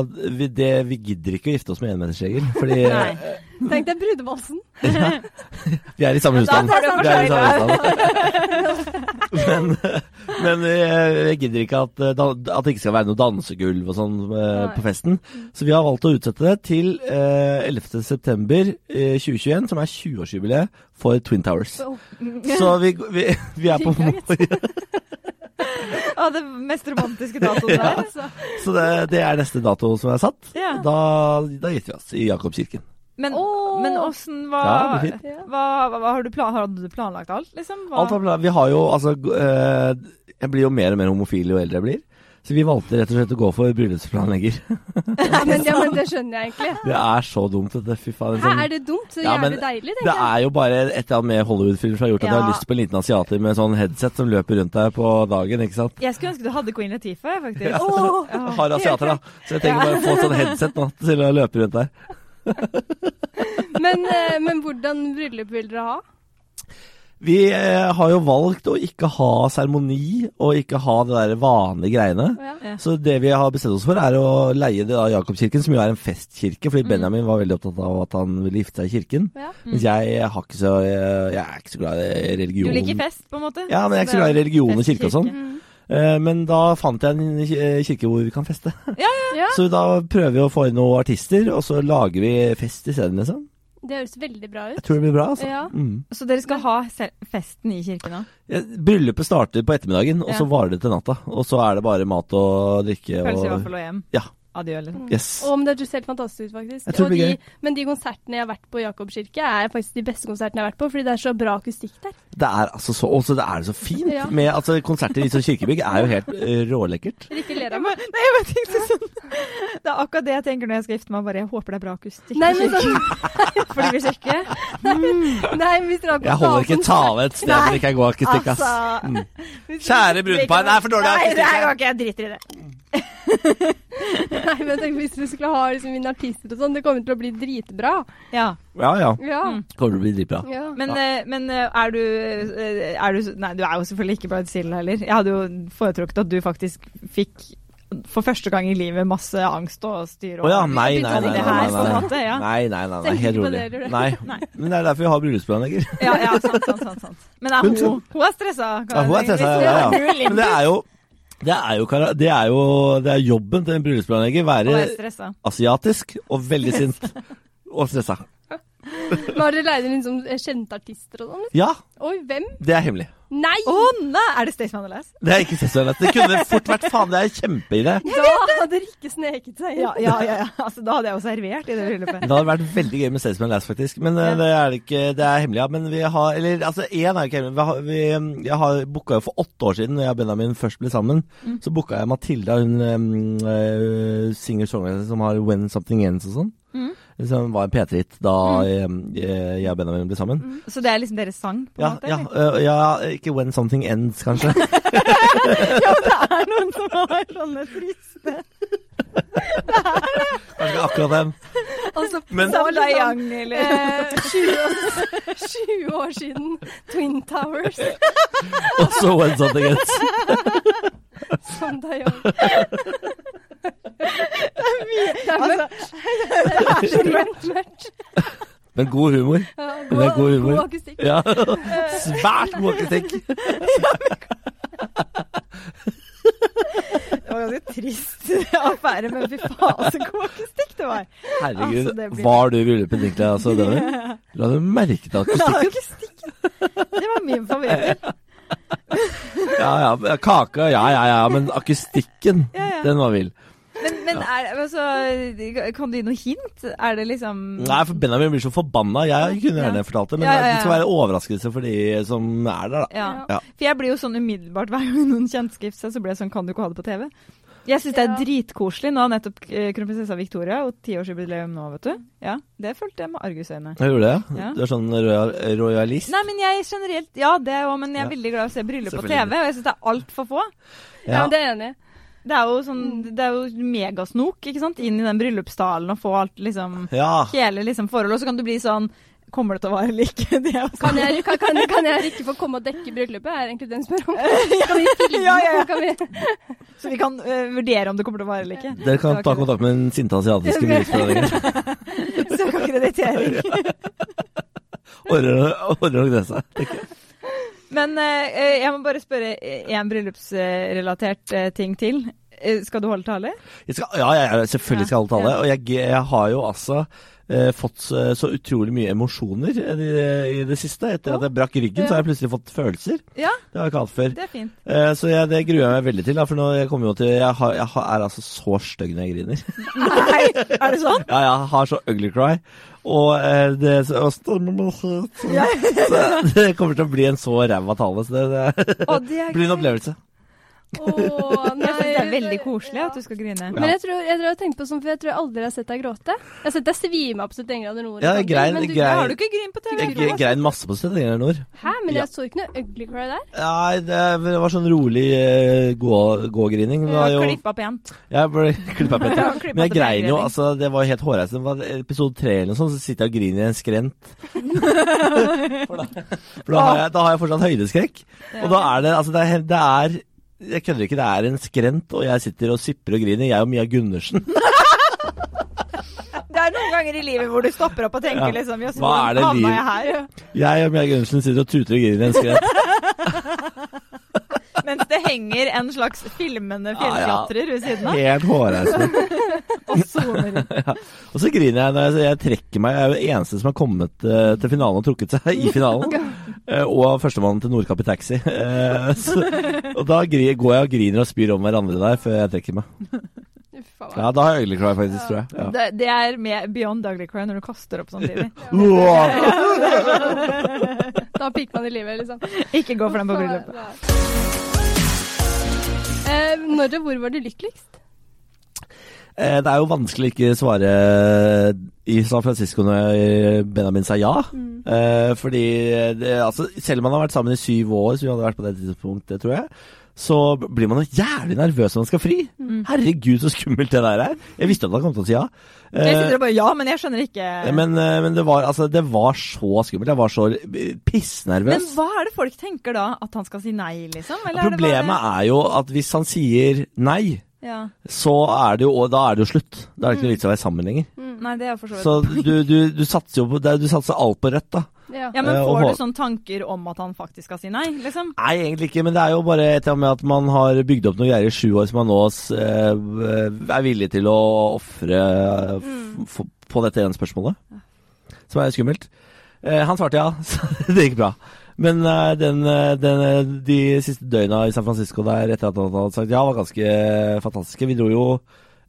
C: vi, det, vi gidder ikke å gifte oss med enmetersregel, fordi
A: Nei.
B: Tenk deg brudevalsen.
C: Vi er i samme husstand.
A: Da tar det
C: Vi er i samme husstand. men men jeg, jeg gidder ikke at, eh, da- at det ikke skal være noe dansegulv og sånn eh,
B: Nei.
C: på festen. Så vi har valgt å utsette det til eh, 11. september eh, 2021, som er 20-årsjubileet for Twin Towers.
B: Oh.
C: Så vi, vi, vi er på
A: Å, det mest romantiske datoen der, altså.
C: Så det, det er neste dato som er satt.
A: Ja.
C: Da, da gifter vi oss i Jakobkirken.
A: Men,
B: Åh.
A: men åssen
C: Ja,
A: var
C: det blir fint.
B: Ja.
A: hva, hva, hva har du plan, Hadde du planlagt alt, liksom? Hva,
C: Alt er bra. Vi har jo altså g- eh, Jeg blir jo mer og mer homofil jo eldre jeg blir. Så vi valgte rett og slett å gå for bryllupsplanlegger.
B: Ja, men, ja, men det skjønner jeg egentlig.
C: Det er så dumt, dette. Fy
B: Hæ,
C: faen. liksom.
B: er det dumt? Så
C: Ja, men
B: jævlig deilig,
C: Det
B: tenker jeg.
C: er jo bare et eller annet med Hollywood-filmer som har gjort at jeg
A: Ja.
C: har lyst på en liten asiater med sånn headset som løper rundt deg på dagen, ikke sant.
A: Jeg skulle ønske du hadde Queen Latifah, faktisk.
C: Ja.
A: Åh.
C: Jeg har asiater, da. Så jeg trenger bare å få et sånn headset nå til å løpe rundt der.
B: Men, eh, men hvordan bryllup vil dere ha?
C: Vi eh, har jo valgt å ikke ha seremoni og ikke ha det der vanlige greiene.
B: Å, Ja.
C: Så det vi har bestemt oss for, er å leie det av Jakobkirken, som jo er en festkirke. Fordi Benjamin var veldig opptatt av at han ville gifte seg i kirken.
B: Ja.
C: Mens jeg, har ikke så, jeg er ikke så glad i
A: Du
C: religion.
A: liker fest, på en måte? Mm.
C: Ja, men jeg er ikke så glad i religion og kirke og sånn. Eh, Men da fant jeg en eh, kirke hvor vi kan feste.
B: Ja.
C: Så da prøver vi å få inn noen artister, og så lager vi fest isteden, liksom.
B: Det høres veldig bra ut.
C: Jeg tror det blir bra, altså.
B: Ja.
C: Mm.
A: Så dere skal ha sel- festen i kirken òg?
C: Ja, Bryllupet starter på ettermiddagen, og så
A: Ja.
C: varer det til natta. Og så er det bare mat og drikke
A: Pølse i
C: og
A: vaffel og hjem?
C: Ja.
A: Adjø, liksom.
C: Yes.
B: Og men det høres helt fantastisk ut, faktisk.
C: Jeg tror
B: og
C: det blir
B: de, men de konsertene jeg har vært på i Jakobkirke, er faktisk de beste konsertene jeg har vært på, fordi det er så bra akustikk der.
C: Det er altså så, også, det er så fint
B: Ja.
C: med altså, konserter i sånn kirkebygg. er jo helt eh, rålekkert.
B: Rikke ler av meg.
A: Nei, jeg bare tenkte sånn Det er akkurat det jeg tenker når jeg skal gifte meg. Bare jeg håper det er bra akustikk.
B: Nei, men sånn,
A: For de vil sjekke.
B: nei, men hvis dere har
C: Mm. Jeg holder
B: sånn-
C: ikke tale et sted hvor
B: Nei,
C: det ikke er god akustikk, ass.
A: altså.
C: Mm. Kjære brudepar, det er for dårlig
A: Nei, det
C: akustikk
A: her
C: her.
A: går ikke. Jeg driter i det.
B: Nei, men jeg tenker, hvis vi skulle ha liksom, mine artister og sånn, det kommer til å bli dritbra.
A: Ja.
C: Ja ja,
B: Ja.
A: Mm.
C: kommer til å bli dritbra.
B: ja.
A: Men, eh, men eh, er, du, eh, er du Nei, du er jo selvfølgelig ikke Bride Sill heller. Jeg hadde jo foretrukket at du faktisk fikk for første gang i livet masse angst og styr.
C: Å ja, nei, nei, nei.
A: begynte å tenke her, på
C: nei, nei,
A: en
C: nei.
A: måte, ja.
C: Nei, nei, nei, nei,
B: Tenker
C: helt
B: ikke på
C: rolig.
B: det, gjør du?
C: Nei.
A: Nei.
C: Men det er derfor vi har bryllupsplanlegger.
A: Ja, ja, sant, sant, sant, sant. Men er hun,
C: Hun-
A: hun er stressa. kan
C: Ja, hun er
A: jeg-
C: stressa,
A: hvis-
C: ja, ja.
A: Hun
C: Men det er jo det er jo, kara- det er jo det er jobben til en bryllupsplanlegger. Være
A: er stressa.
C: asiatisk og veldig sint. Og stressa.
B: Men har dere leid inn liksom, kjente artister og sånn?
C: Ja,
B: Oi, hvem?
C: det er hemmelig.
B: Nei!
A: Å nei! Er det Staysman Alice?
C: Det er ikke seksuelt. Det kunne fort vært faen, det er kjempeidé.
B: Da hadde Rikke sneket seg inn.
A: Ja, ja, ja, ja. Altså, da hadde jeg jo servert i det bryllupet.
C: Det hadde vært veldig gøy med Staysman Lass, faktisk. Men eh, det er det ikke, det er hemmelig, ja. Men vi har Eller altså, én er jo ikke hemmelig. Vi har, vi, eh, jeg har booka jo for åtte år siden, når jeg og Benjamin først ble sammen,
A: Mm.
C: så booka jeg Matilda, hun um, singer-songwriter som har When Something Ends og sånn.
A: Mm.
C: Som var en P3-hit da eh, eh, jeg og Benjamin ble sammen.
A: Så det er liksom deres sang, Mm. på en
C: Ja,
A: måte? liksom.
C: ja,
A: eller?
C: eh, ja, ikke When Something Ends, kanskje.
A: ja, men det er noen som har sånne triste
C: kanskje akkurat den.
B: Altså,
C: Men-
B: så var det
A: Sånn
B: sånn,
A: Young, eller
B: eh, 20, år- 20 år siden Twin Towers.
C: Også When Something Ends.
B: Som det er Young. Det er
A: Altså,
B: mye. Altså, Det er mørkt. mørkt.
C: Men god humor.
B: Ja,
C: Men det er god humor.
B: god akustikk.
C: Ja. Svært god kritikk.
A: Det var ganske trist affære, men fy faen, så god akustikk det var.
C: Herregud,
A: Altså, det blir-
C: var du i bryllupet ditt, Niklas? Altså, denne? La du merke til
A: Ja,
C: akustikken?
A: akustikk. Det var min favoritt.
C: Ja, ja, kaka, ja, ja, ja, men akustikken,
A: Ja, ja.
C: den var vill.
A: men er, altså, kan du gi noe hint? Er det liksom
C: Nei, for Benjamin blir så forbanna. Jeg kunne gjerne fortalt det, men
A: Ja, ja, ja.
C: det skal være overraskelse for de som er der, da.
A: Ja.
C: Ja.
A: For jeg blir jo sånn umiddelbart hver gang noen kjentskriver seg, så blir jeg sånn Kan du ikke ha det på TV? Jeg syns det er
B: Ja.
A: dritkoselig. Nå har nettopp eh, kronprinsessa Victoria og tiårsjubileum nå, vet du. Ja, Det fulgte jeg med argusøyne.
C: Jeg gjorde det.
A: Ja.
C: Du er sånn royal, royalist.
A: Nei, men jeg generelt Ja, det òg, men jeg er
C: Ja.
A: veldig glad i å se bryllup på
C: Selvfølgelig.
A: TV, og jeg syns det er altfor få.
B: Ja, men det er jeg enig i.
A: Det er jo sånn Det er jo megasnok, ikke sant, inn i den bryllupsdalen og få alt liksom
C: Ja.
A: Hele liksom forholdet, og så kan du bli sånn Kommer det til å vare eller ikke? Det er jo sånn.
B: Kan jeg, kan, kan, kan jeg ikke få komme og dekke bryllupet? Er egentlig det hun spør om. Kan vi filme?
A: Ja, ja, ja.
B: Kan vi?
A: Så vi kan eh, vurdere om det kommer til å vare eller ikke.
C: Dere kan
A: Det var ikke
C: ta
A: det.
C: kontakt med den sinte asiatiske bryllupsforeningen.
A: Søkeakkreditering.
C: Ordner ordner nok det seg. tenker jeg.
A: Men eh, jeg må bare spørre eh, en bryllupsrelatert eh, ting til. Eh, skal du holde tale?
C: Jeg skal, ja, jeg, jeg- selvfølgelig skal jeg holde tale. Og jeg, jeg har jo altså eh, fått så, så utrolig mye emosjoner i, det- i det siste. Etter at jeg brakk ryggen, så har jeg plutselig fått følelser.
A: Ja,
C: Det har jeg ikke hatt før.
A: det er fint.
C: Eh, Så jeg, det gruer jeg meg veldig til, da, for nå jeg kommer jo til Jeg, har, jeg har, er altså så stygg når jeg griner.
A: Nei, er det sånn?
C: Ja, jeg har så ugly cry. Og eh, det så, og stemmer meg søt. så Det kommer til å bli en så ræva tale, så det, det
A: Å, det er
C: blir en
A: gøy.
C: opplevelse.
B: Åh, nei.
A: Jeg synes det er veldig koselig at du skal grine.
B: Men jeg tror jeg, tror jeg har tenkt på sånn, for jeg tror jeg aldri har sett deg gråte. Jeg har sett deg svime av på 71 grader nord. og
C: Ja,
B: sånne ting,
C: grein-
B: men du-
C: grein-
A: Har du ikke grint på TV?
C: Jeg, jeg grein masse på stedet lenger nord.
B: Hæ, men
C: Ja.
B: jeg så ikke noe ugly cry der.
C: Nei, det var sånn rolig eh, gå- gågrining. Det var
A: Ja,
C: jo
A: Klippa pent.
C: Jeg ble klippa
A: Ja,
C: på etter.
A: klippet
C: Men jeg
A: til
C: grein jo,
A: beigreining.
C: altså. Det var jo helt hårreisende. Det var Episode tre eller noe sånt, så sitter jeg og griner i en skrent. For da, for da, har, jeg, da har jeg fortsatt høydeskrekk. Og da er det altså Det er, det er jeg kødder ikke, det er en skrent, og jeg sitter og sipper og griner. Jeg og Mia Gundersen.
A: Det er noen ganger i livet hvor du stopper opp og tenker
C: Ja.
A: liksom Jøss,
C: Hva er
A: hvordan
C: det
A: havna jeg
C: liv-
A: her?
C: Jeg og Mia Gundersen sitter og tuter og griner i en skrent.
A: Mens det henger en slags filmende
C: Ja, ja.
A: fjellklatrer ved siden av.
C: Helt hårreisende.
A: Og soner.
C: Og så griner jeg når jeg, jeg trekker meg. Jeg er jo den eneste som har kommet eh, til finalen og trukket seg i finalen. Eh, og førstemann til Nordkapp i taxi. Eh, så, og da gri, går jeg og griner og spyr om hverandre der før jeg trekker meg.
B: Uff, faen.
C: Ja, da har jeg ugly cry faktisk, tror jeg. Ja.
A: Det, det er med beyond ugly cry når du kaster opp samtidig.
C: Wow.
B: Da piker man i livet, liksom.
A: Ikke gå for den på bryllupet.
B: Eh, når og hvor var du lykkeligst?
C: Eh, Det er jo vanskelig å ikke svare i San Francisco når Benjamin sa ja.
A: Mm.
C: Eh, fordi det, altså, selv om man har vært sammen i syv år, som vi hadde vært på det tidspunktet, tror jeg, så blir man jo jævlig nervøs når man skal fri.
A: Mm.
C: Herregud, så skummelt det der er. Jeg visste at han kom til å si ja. Eh,
A: Jeg sitter og bare Ja, men jeg skjønner ikke
C: Men, eh, men det, var, altså, det var så skummelt. Jeg var så eh,
A: Men
C: pissnervøs.
A: hva er det folk tenker da? At han skal si nei, liksom? Eller er det bare-
C: Problemet er jo at hvis han sier nei,
A: ja.
C: så er det jo, og da er det jo slutt. Da er det ikke
A: Mm.
C: noe vits i å være sammen lenger.
A: Nei, det er for så vidt.
C: Så du, du, du satser jo på det, Du satser alt på rødt, da.
B: Ja.
A: Ja, men
C: Eh,
A: Får
C: og hva-
A: du sånne tanker om at han faktisk skal si nei, liksom?
C: Nei, egentlig ikke, men det er jo bare et eller annet med at man har bygd opp noen greier i sju år som man nå eh, er villig til å ofre eh, f- f- på dette ene spørsmålet. Som er skummelt. Eh, han svarte ja, så det gikk bra. Men eh, den, eh, den, eh, de siste døgna i San Francisco der etter at han hadde sagt ja, var ganske eh, fantastiske. Vi dro jo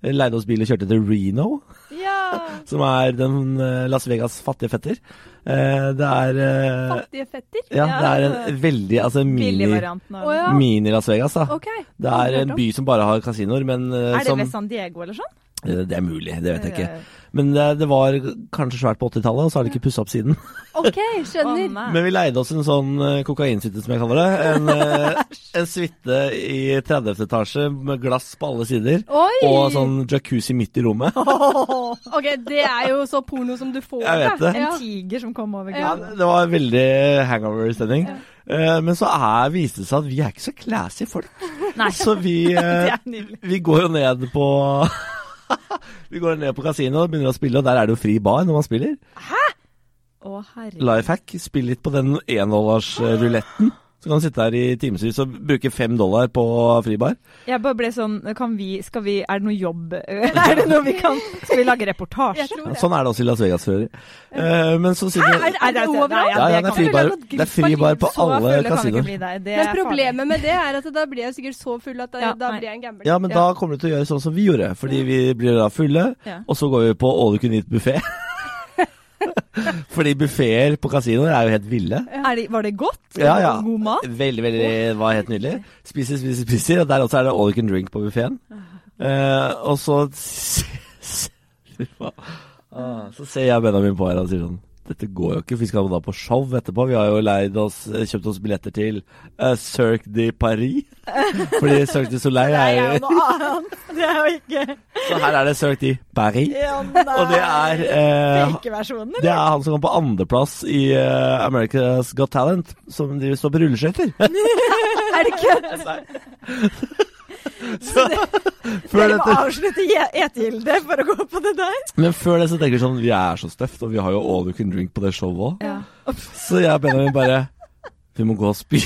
C: eh, Leide oss bil og kjørte til Reno,
A: Ja.
C: som er den eh, Las Vegas fattige fetter. Eh, det er eh,
B: Fattige fetter?
C: Ja, det
A: Ja.
C: er en veldig altså mini,
A: Billigvarianten av
B: Å ja.
C: mini Las Vegas, da.
B: OK.
C: Det er en by som bare har kasinoer, men eh,
A: Er det
C: som
A: ved San Diego eller sånn?
C: Eh, Det er mulig, det vet jeg
A: Ja, ja,
C: ikke.
A: ja.
C: Men eh, det, det var kanskje svært på 80-tallet, og så har de ikke pussa opp siden.
B: OK,
A: Å,
B: skjønner.
A: nei.
C: Men vi leide oss en sånn eh, kokainsuite, som jeg kaller det. En, eh, en suite i 30. etasje med glass på alle sider.
B: Oi!
C: Og sånn jacuzzi midt i rommet.
B: OK, det er jo så porno som du får.
C: Jeg
B: da.
C: vet det.
B: Ja.
A: En tiger som kom over
C: Ja,
A: graven.
C: det det var veldig hangover-stemning. Eh, Men så er, viste det seg at vi er ikke så classy folk.
A: Nei.
C: Så vi eh,
A: Det er nydelig.
C: Vi går jo ned på Vi går ned på kasino og begynner å spille, og der er det jo fri bar når man spiller.
A: Å, herregud.
C: Life hack, spill litt på den endollarruletten Så kan du sitte her i timevis og bruke fem dollar på fribar.
A: Jeg bare ble sånn kan vi, skal vi, Er det noe jobb Er det noe vi kan Skal vi lage reportasje?
B: Jeg tror
C: Ja,
B: det.
C: sånn er det også i Las Vegas for øvrig. Eh, men så sitter
A: Er, er det overalt?
C: Ja, ja, det er
A: kan vi-
C: fribar, det er fribar på
A: Så fulle
C: alle
A: kan vi ikke
C: kasinoer.
A: bli der. Det
B: Men
A: er farlig.
B: problemet med det er at da blir jeg sikkert så full at da,
A: Ja,
B: da
A: nei.
B: blir jeg en gambler.
C: Ja, men
A: Ja.
C: da kommer du til å gjøre sånn som vi gjorde, fordi vi blir da fulle,
A: Ja.
C: og så går vi på all you can eat buffé. fordi buffeer på kasinoer er jo helt ville.
A: Er det, var det godt?
C: Ja, ja.
A: God mat?
C: Veldig, veldig, det var helt nydelig. Spiser, spiser, spiser, og der også er det all you can drink på buffeen. og så Fy faen. Ah, Så ser jeg Benjamin på her og sier sånn dette går jo ikke, for vi skal da på show etterpå. Vi har jo leid oss, kjøpt oss billetter til eh, Cirque de Paris. Fordi Cirque de Soleil
A: Det
C: er
A: er
C: jo
A: jo noe annet. Det er jo ikke
C: Så her er det Cirque de Paris.
A: Ja, nei.
C: Og det er eh,
A: Fakeversjonen,
C: det er han som kom på andreplass i eh, America's Got Talent, som driver og står på rulleskøyter.
A: Er det kødd?
C: Så før
A: Dere må
C: dette
A: avslutte je- etegilde for å gå på det der.
C: Men før det så tenker jeg sånn Vi er så støft, og vi har jo all you can drink på det showet òg. Så jeg og Benjamin bare Vi må gå og spy.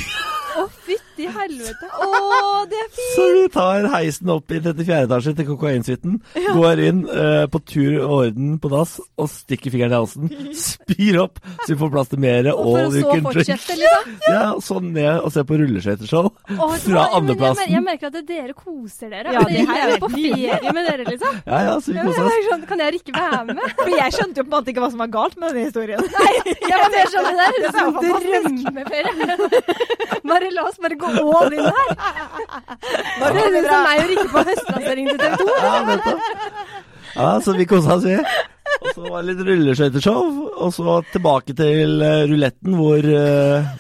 B: Å, fytti helvete.
A: Å, det er fint!
C: Så vi tar heisen opp i 34 etasje til kokainsuiten, går inn eh, på tur og orden på dass og stikker fingeren i halsen. Spyr opp, så vi får plass til mer
B: Og for å
C: all you
B: så
C: can drink.
B: fortsette, liksom.
C: Ja, så ned og se på rulleskøyteshow
B: Å, vet du hva? Men jeg
C: fra
B: mer- Jeg
C: andreplassen.
B: merker at dere koser dere.
A: Ja,
B: Altså,
A: det
B: jeg
A: her
B: er
A: er
B: jo på ferie med dere, liksom.
C: Ja, ja, så
B: Ja,
C: vi
B: men
C: koser
B: jeg
C: oss.
B: er sånn, Kan jeg ikke være med?
A: For jeg skjønte jo på en måte ikke hva som var galt med denne historien.
B: Jeg var mer sånn, Det der høres ut som
A: Det er
B: drømmeferie. Bare la oss bare gå all in her.
A: Nå
B: Det høres ut som meg å rykke på høstlanseringen til TV 2.
C: Ja, nettopp. Ja, så vi kosa oss, vi. Og så var det litt rulleskøyteshow, og så tilbake til eh, ruletten hvor eh,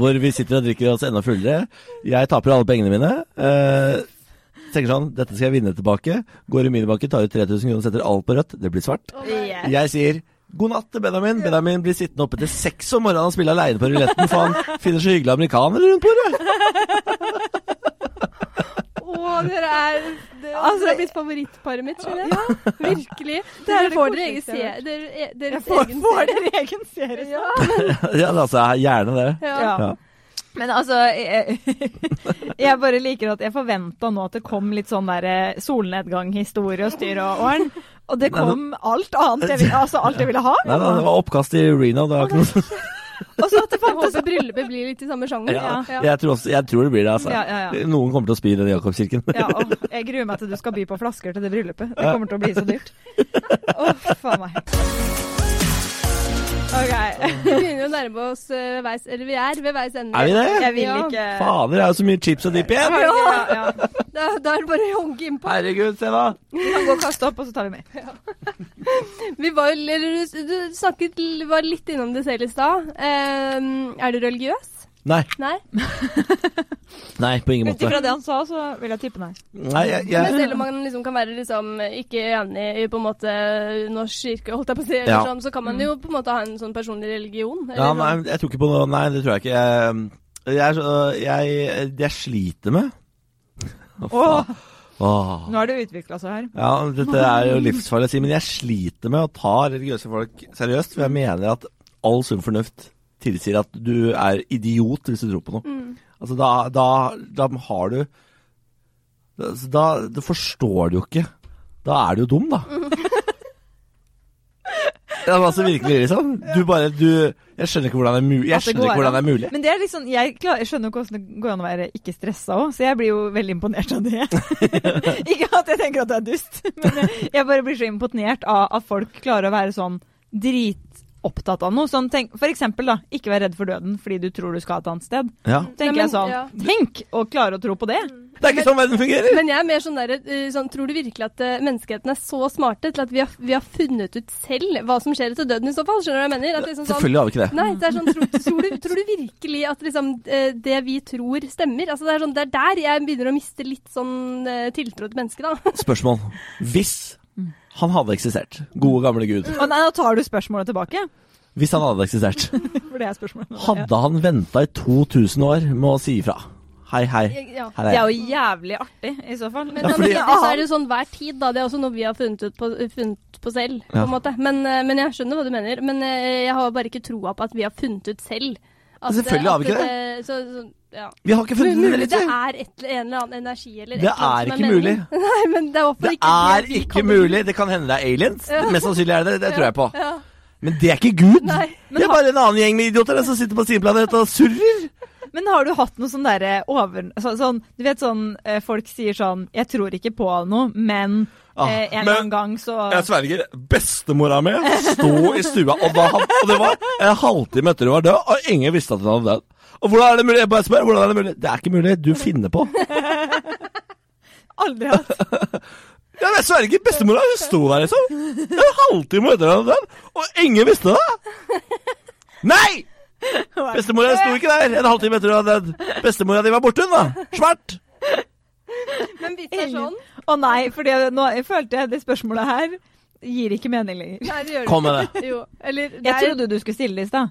C: hvor vi sitter og drikker oss enda fullere. Jeg taper alle pengene mine. eh, tenker sånn, dette skal jeg vinne tilbake. Går i minibanken, tar ut 3000 kroner, setter alt på rødt. Det blir svart. Jeg sier god natt til Benjamin. Benjamin blir sittende oppe til seks om morgenen og spille aleine på ruletten, for han finner så hyggelige amerikanere rundt bordet.
B: Å, dere er det,
A: Altså,
B: Dere er blitt favorittparet mitt, skjønner jeg. Virkelig.
A: Det er
B: Dere
A: det
B: får dere egen
A: koseligste jeg har
B: serie. Dere,
A: Jeg
B: deres
A: får,
B: egen
A: får
B: serie.
A: dere egen serie.
B: Ja.
C: ja, altså, gjerne det.
B: Ja.
A: Ja. Men altså jeg, jeg bare liker at jeg forventa nå at det kom litt sånn der eh, solnedgang-historie og styr og åren. Og det kom alt annet jeg ville, altså alt jeg ville ha.
C: Nei, nei, det var oppkast i Reno. Det var ikke noe
A: Og så Altså, at det
B: Jeg
A: fantes
B: håper bryllupet blir litt i samme sjanger.
C: Ja,
B: Ja.
C: Jeg, tror også, jeg tror det blir det, altså.
A: Ja, ja, ja.
C: Noen kommer til å spy i den Jakobskirken.
A: Ja, og jeg gruer meg til du skal by på flasker til det bryllupet. Det kommer til å bli så dyrt. Å, faen meg. OK.
B: Vi begynner jo å nærme oss eh, veis Eller vi er ved veis ende.
C: Er vi det?
A: Jeg vil ikke
C: Fader, det er jo så mye chips og dipp igjen!
A: Ja, ja.
B: Da, da er det bare å honke innpå.
C: Herregud, se da!
A: Vi kan gå og kaste opp, og så tar vi mer.
B: Vi var, jo- eller, du, du snakket l- var litt innom det selv i stad. Eh, er du religiøs?
C: Nei,
B: Nei.
C: nei, på ingen
A: Ut
C: måte.
A: ifra det han sa, så vil jeg tippe nei.
C: Nei, jeg,
B: Men
C: jeg,
B: selv om man liksom kan være liksom ikke enig i på en måte norsk kirke, holdt jeg på å si, eller
C: Ja.
B: sånn, så kan man jo på en måte ha en sånn personlig religion. eller
C: ja,
B: sånn.
C: nei, jeg tror ikke på noe Nei, det tror jeg ikke. Jeg, jeg, er så- jeg, jeg sliter med Å,
A: Åh,
C: faen. Åh.
A: nå har det utvikla seg her.
C: Ja, dette er jo livsfarlig å si, men jeg sliter med å ta religiøse folk seriøst. For jeg mener at all sunn fornuft tilsier at du er idiot hvis du tror på noe. Altså da, da, da har du da, da, da forstår du jo ikke. Da er du jo dum, da. Ja, men altså virkelig, liksom. Du bare du, Jeg skjønner ikke hvordan det er mulig. Jeg
A: At det
C: skjønner ikke
A: går an.
C: hvordan det er mulig.
A: Men det er liksom, jeg, klar, jeg skjønner jo ikke hvordan det går an å være ikke stressa òg, så jeg blir jo veldig imponert av det. ikke at jeg tenker at det er dust, men jeg, jeg bare blir så imponert av at folk klarer å være sånn dritopptatt av noe. Sånn, tenk, for eksempel, da, ikke vær redd for døden fordi du tror du skal et annet sted.
C: Ja.
A: Tenker
B: Nei, men-
A: jeg sånn.
B: ja. Mm.
A: Tenk å klare å tro på det.
C: Det er ikke sånn verden fungerer!
B: Men jeg er mer sånn der, eh, sånn, tror du virkelig at eh, menneskeheten er så smarte til at vi har, vi har funnet ut selv hva som skjer etter døden i så fall? Skjønner du hva jeg mener? At liksom sånn,
C: Selvfølgelig har vi ikke det.
B: Nei, det er sånn, tror, tror, du, tror du virkelig at liksom, eh, det vi tror stemmer? Altså, det, er sånn, det er der jeg begynner å miste litt sånn eh, tiltro til mennesket, da.
C: Spørsmål. Hvis han hadde eksistert, gode gamle Gud,
A: Å nei, nå tar du spørsmålet tilbake.
C: hvis han hadde eksistert,
A: For det er spørsmålet. Ja.
C: hadde han venta i 2000 år med å si ifra? Hei, hei.
B: Ja.
C: Her
A: Det
C: er
A: er
C: jeg.
A: jo jævlig artig, i så fall.
B: Men
C: Ja,
B: ja,
C: fordi-
B: samtidig så er det jo sånn hver tid, da. Det er også noe vi har funnet, ut på, funnet på selv, på
C: Ja.
B: en måte. Men, eh, men jeg skjønner hva du mener. Men eh, jeg har bare ikke troa på at vi har funnet ut selv At,
C: Selvfølgelig har vi ikke
B: det. Så, så, ja.
C: Vi har ikke funnet den
B: Mulig det
C: rette!
B: er et, en eller annen energi eller et
C: Det
B: eller annet
C: er
B: som
C: ikke mulig.
B: meningen. Nei, men det er i hvert fall
C: Det
B: ikke
C: er
B: vi
C: ikke
B: kan-
C: mulig! Det kan hende det er aliens.
B: Ja.
C: Mest sannsynlig er det det. Det tror jeg på.
B: Ja.
C: Men det er ikke Gud!
B: Nei.
C: Det er bare en annen gjeng med idioter der som sitter på sin planet og surrer!
A: Men har du hatt noe sånn derre over... Så, sånn, du vet sånn eh, folk sier sånn 'Jeg tror ikke på noe, men
C: Ah,
A: eh, en
C: men-
A: eller annen gang så
C: Jeg sverger, bestemora mi sto i stua, og, da, og det var en halvtime etter hun var død, og ingen visste at hun hadde dødd. Og hvordan er det mulig? Jeg bare spør, hvordan er det mulig? Det er ikke mulig, du finner på.
A: Aldri hatt.
C: Ja, men jeg sverger, bestemora hun sto der liksom, en halvtime etter hun hadde dødd, og ingen visste det. Nei! Bestemora sto ikke der en halvtime etter hun hadde dødd. Bestemora di var borte hun da, svart.
B: Men hvis det er sånn
A: Å nei, for nå jeg følte jeg det spørsmålet her gir ikke mening lenger.
B: Nei, det gjør det
C: Kom med det.
B: ikke. Jo, eller det
A: Jeg
B: er-
A: trodde du skulle stille det i stad.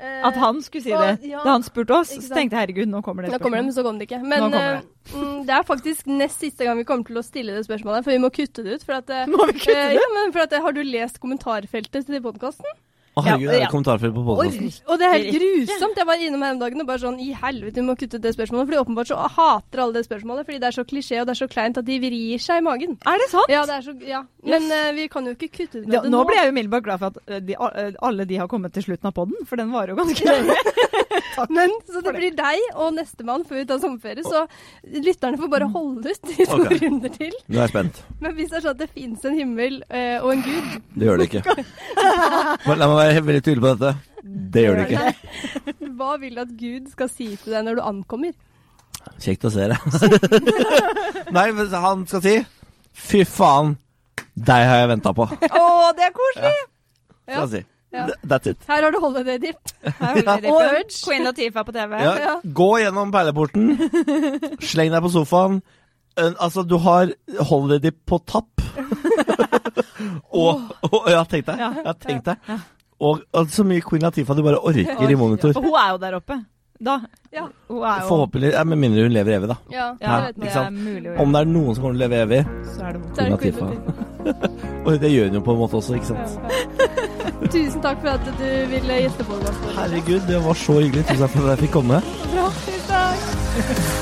B: eh,
A: At han skulle si
B: og-
A: det.
B: ja.
A: Da han spurte oss,
B: Ikke
A: så
B: sant.
A: tenkte jeg herregud, nå kommer det
B: Nå kommer det, men så kom det ikke. Men
A: Nå kommer det.
B: eh, mm, det er faktisk nest siste gang vi kommer til å stille det spørsmålet, for vi må kutte det ut. For at, eh,
A: Må vi kutte
B: eh,
A: det?
B: Ja, men for at, eh, har du lest kommentarfeltet til podkasten?
C: Å herregud,
A: Ja,
C: det
A: ja.
C: er kommentarfelt på podcasten.
B: Og det er helt grusomt. Jeg var innom her om dagen og bare sånn I helvete, vi må kutte ut det spørsmålet. Fordi åpenbart så hater alle det spørsmålet, fordi det er så klisjé og det er så kleint at de vrir seg i magen.
A: Er det sant?
B: Ja, det er så Ja. Men eh, vi kan jo ikke kutte ut
A: Da,
B: det
A: nå ble jeg umiddelbart glad for at eh, de, eh, alle de har kommet til slutten av poden, for den varer jo ganske lenge.
B: Men så det
A: for det.
B: blir deg og nestemann før vi tar sommerferie, så lytterne får
A: Mm.
B: bare holde ut i to
C: Ok.
B: runder til.
C: Nå er jeg spent.
B: Men hvis det er sånn at det fins en himmel eh, og en gud,
C: Det gjør det ikke. Men La meg være veldig tydelig på dette. Det gjør det ikke.
B: hva vil du at Gud skal si til deg når du ankommer?
C: Kjekt å se deg. Nei, men han skal si Fy faen, deg har jeg venta på. Skal
A: Å, det er koselig!
B: Ja.
C: han si.
B: Ja.
C: Th- That's it.
B: Her har du holiday dip.
A: Og
B: Og Urge.
A: Queen Latifah på TV.
C: Ja.
B: Ja.
C: Gå gjennom perleporten, sleng deg på sofaen. En- Altså, du har holiday dip på tapp. og, og Ja, tenk deg.
A: Ja.
C: Ja, tenk deg. Og, og så mye Queen Latifah du bare orker i monitor.
A: Og hun er jo der oppe. Da.
B: Ja.
A: Hun er jo
C: Forhåpentlig, ja, Med mindre hun lever evig, da.
B: Ja,
A: Ja,
C: Ja,
B: det vet man.
A: det
C: ikke
A: er
C: sant?
A: mulig å gjøre.
C: Om det er noen som kommer til å leve evig.
A: Så er det
B: Så er det
C: Queen
B: Queen Latifah.
C: Og det gjør hun jo på en måte også, ikke sant.
B: Ja. Tusen takk for at du ville gjette på det. Astrid.
C: Herregud, det var så hyggelig. Tusen takk for at jeg fikk komme.
B: Bra. Tusen takk.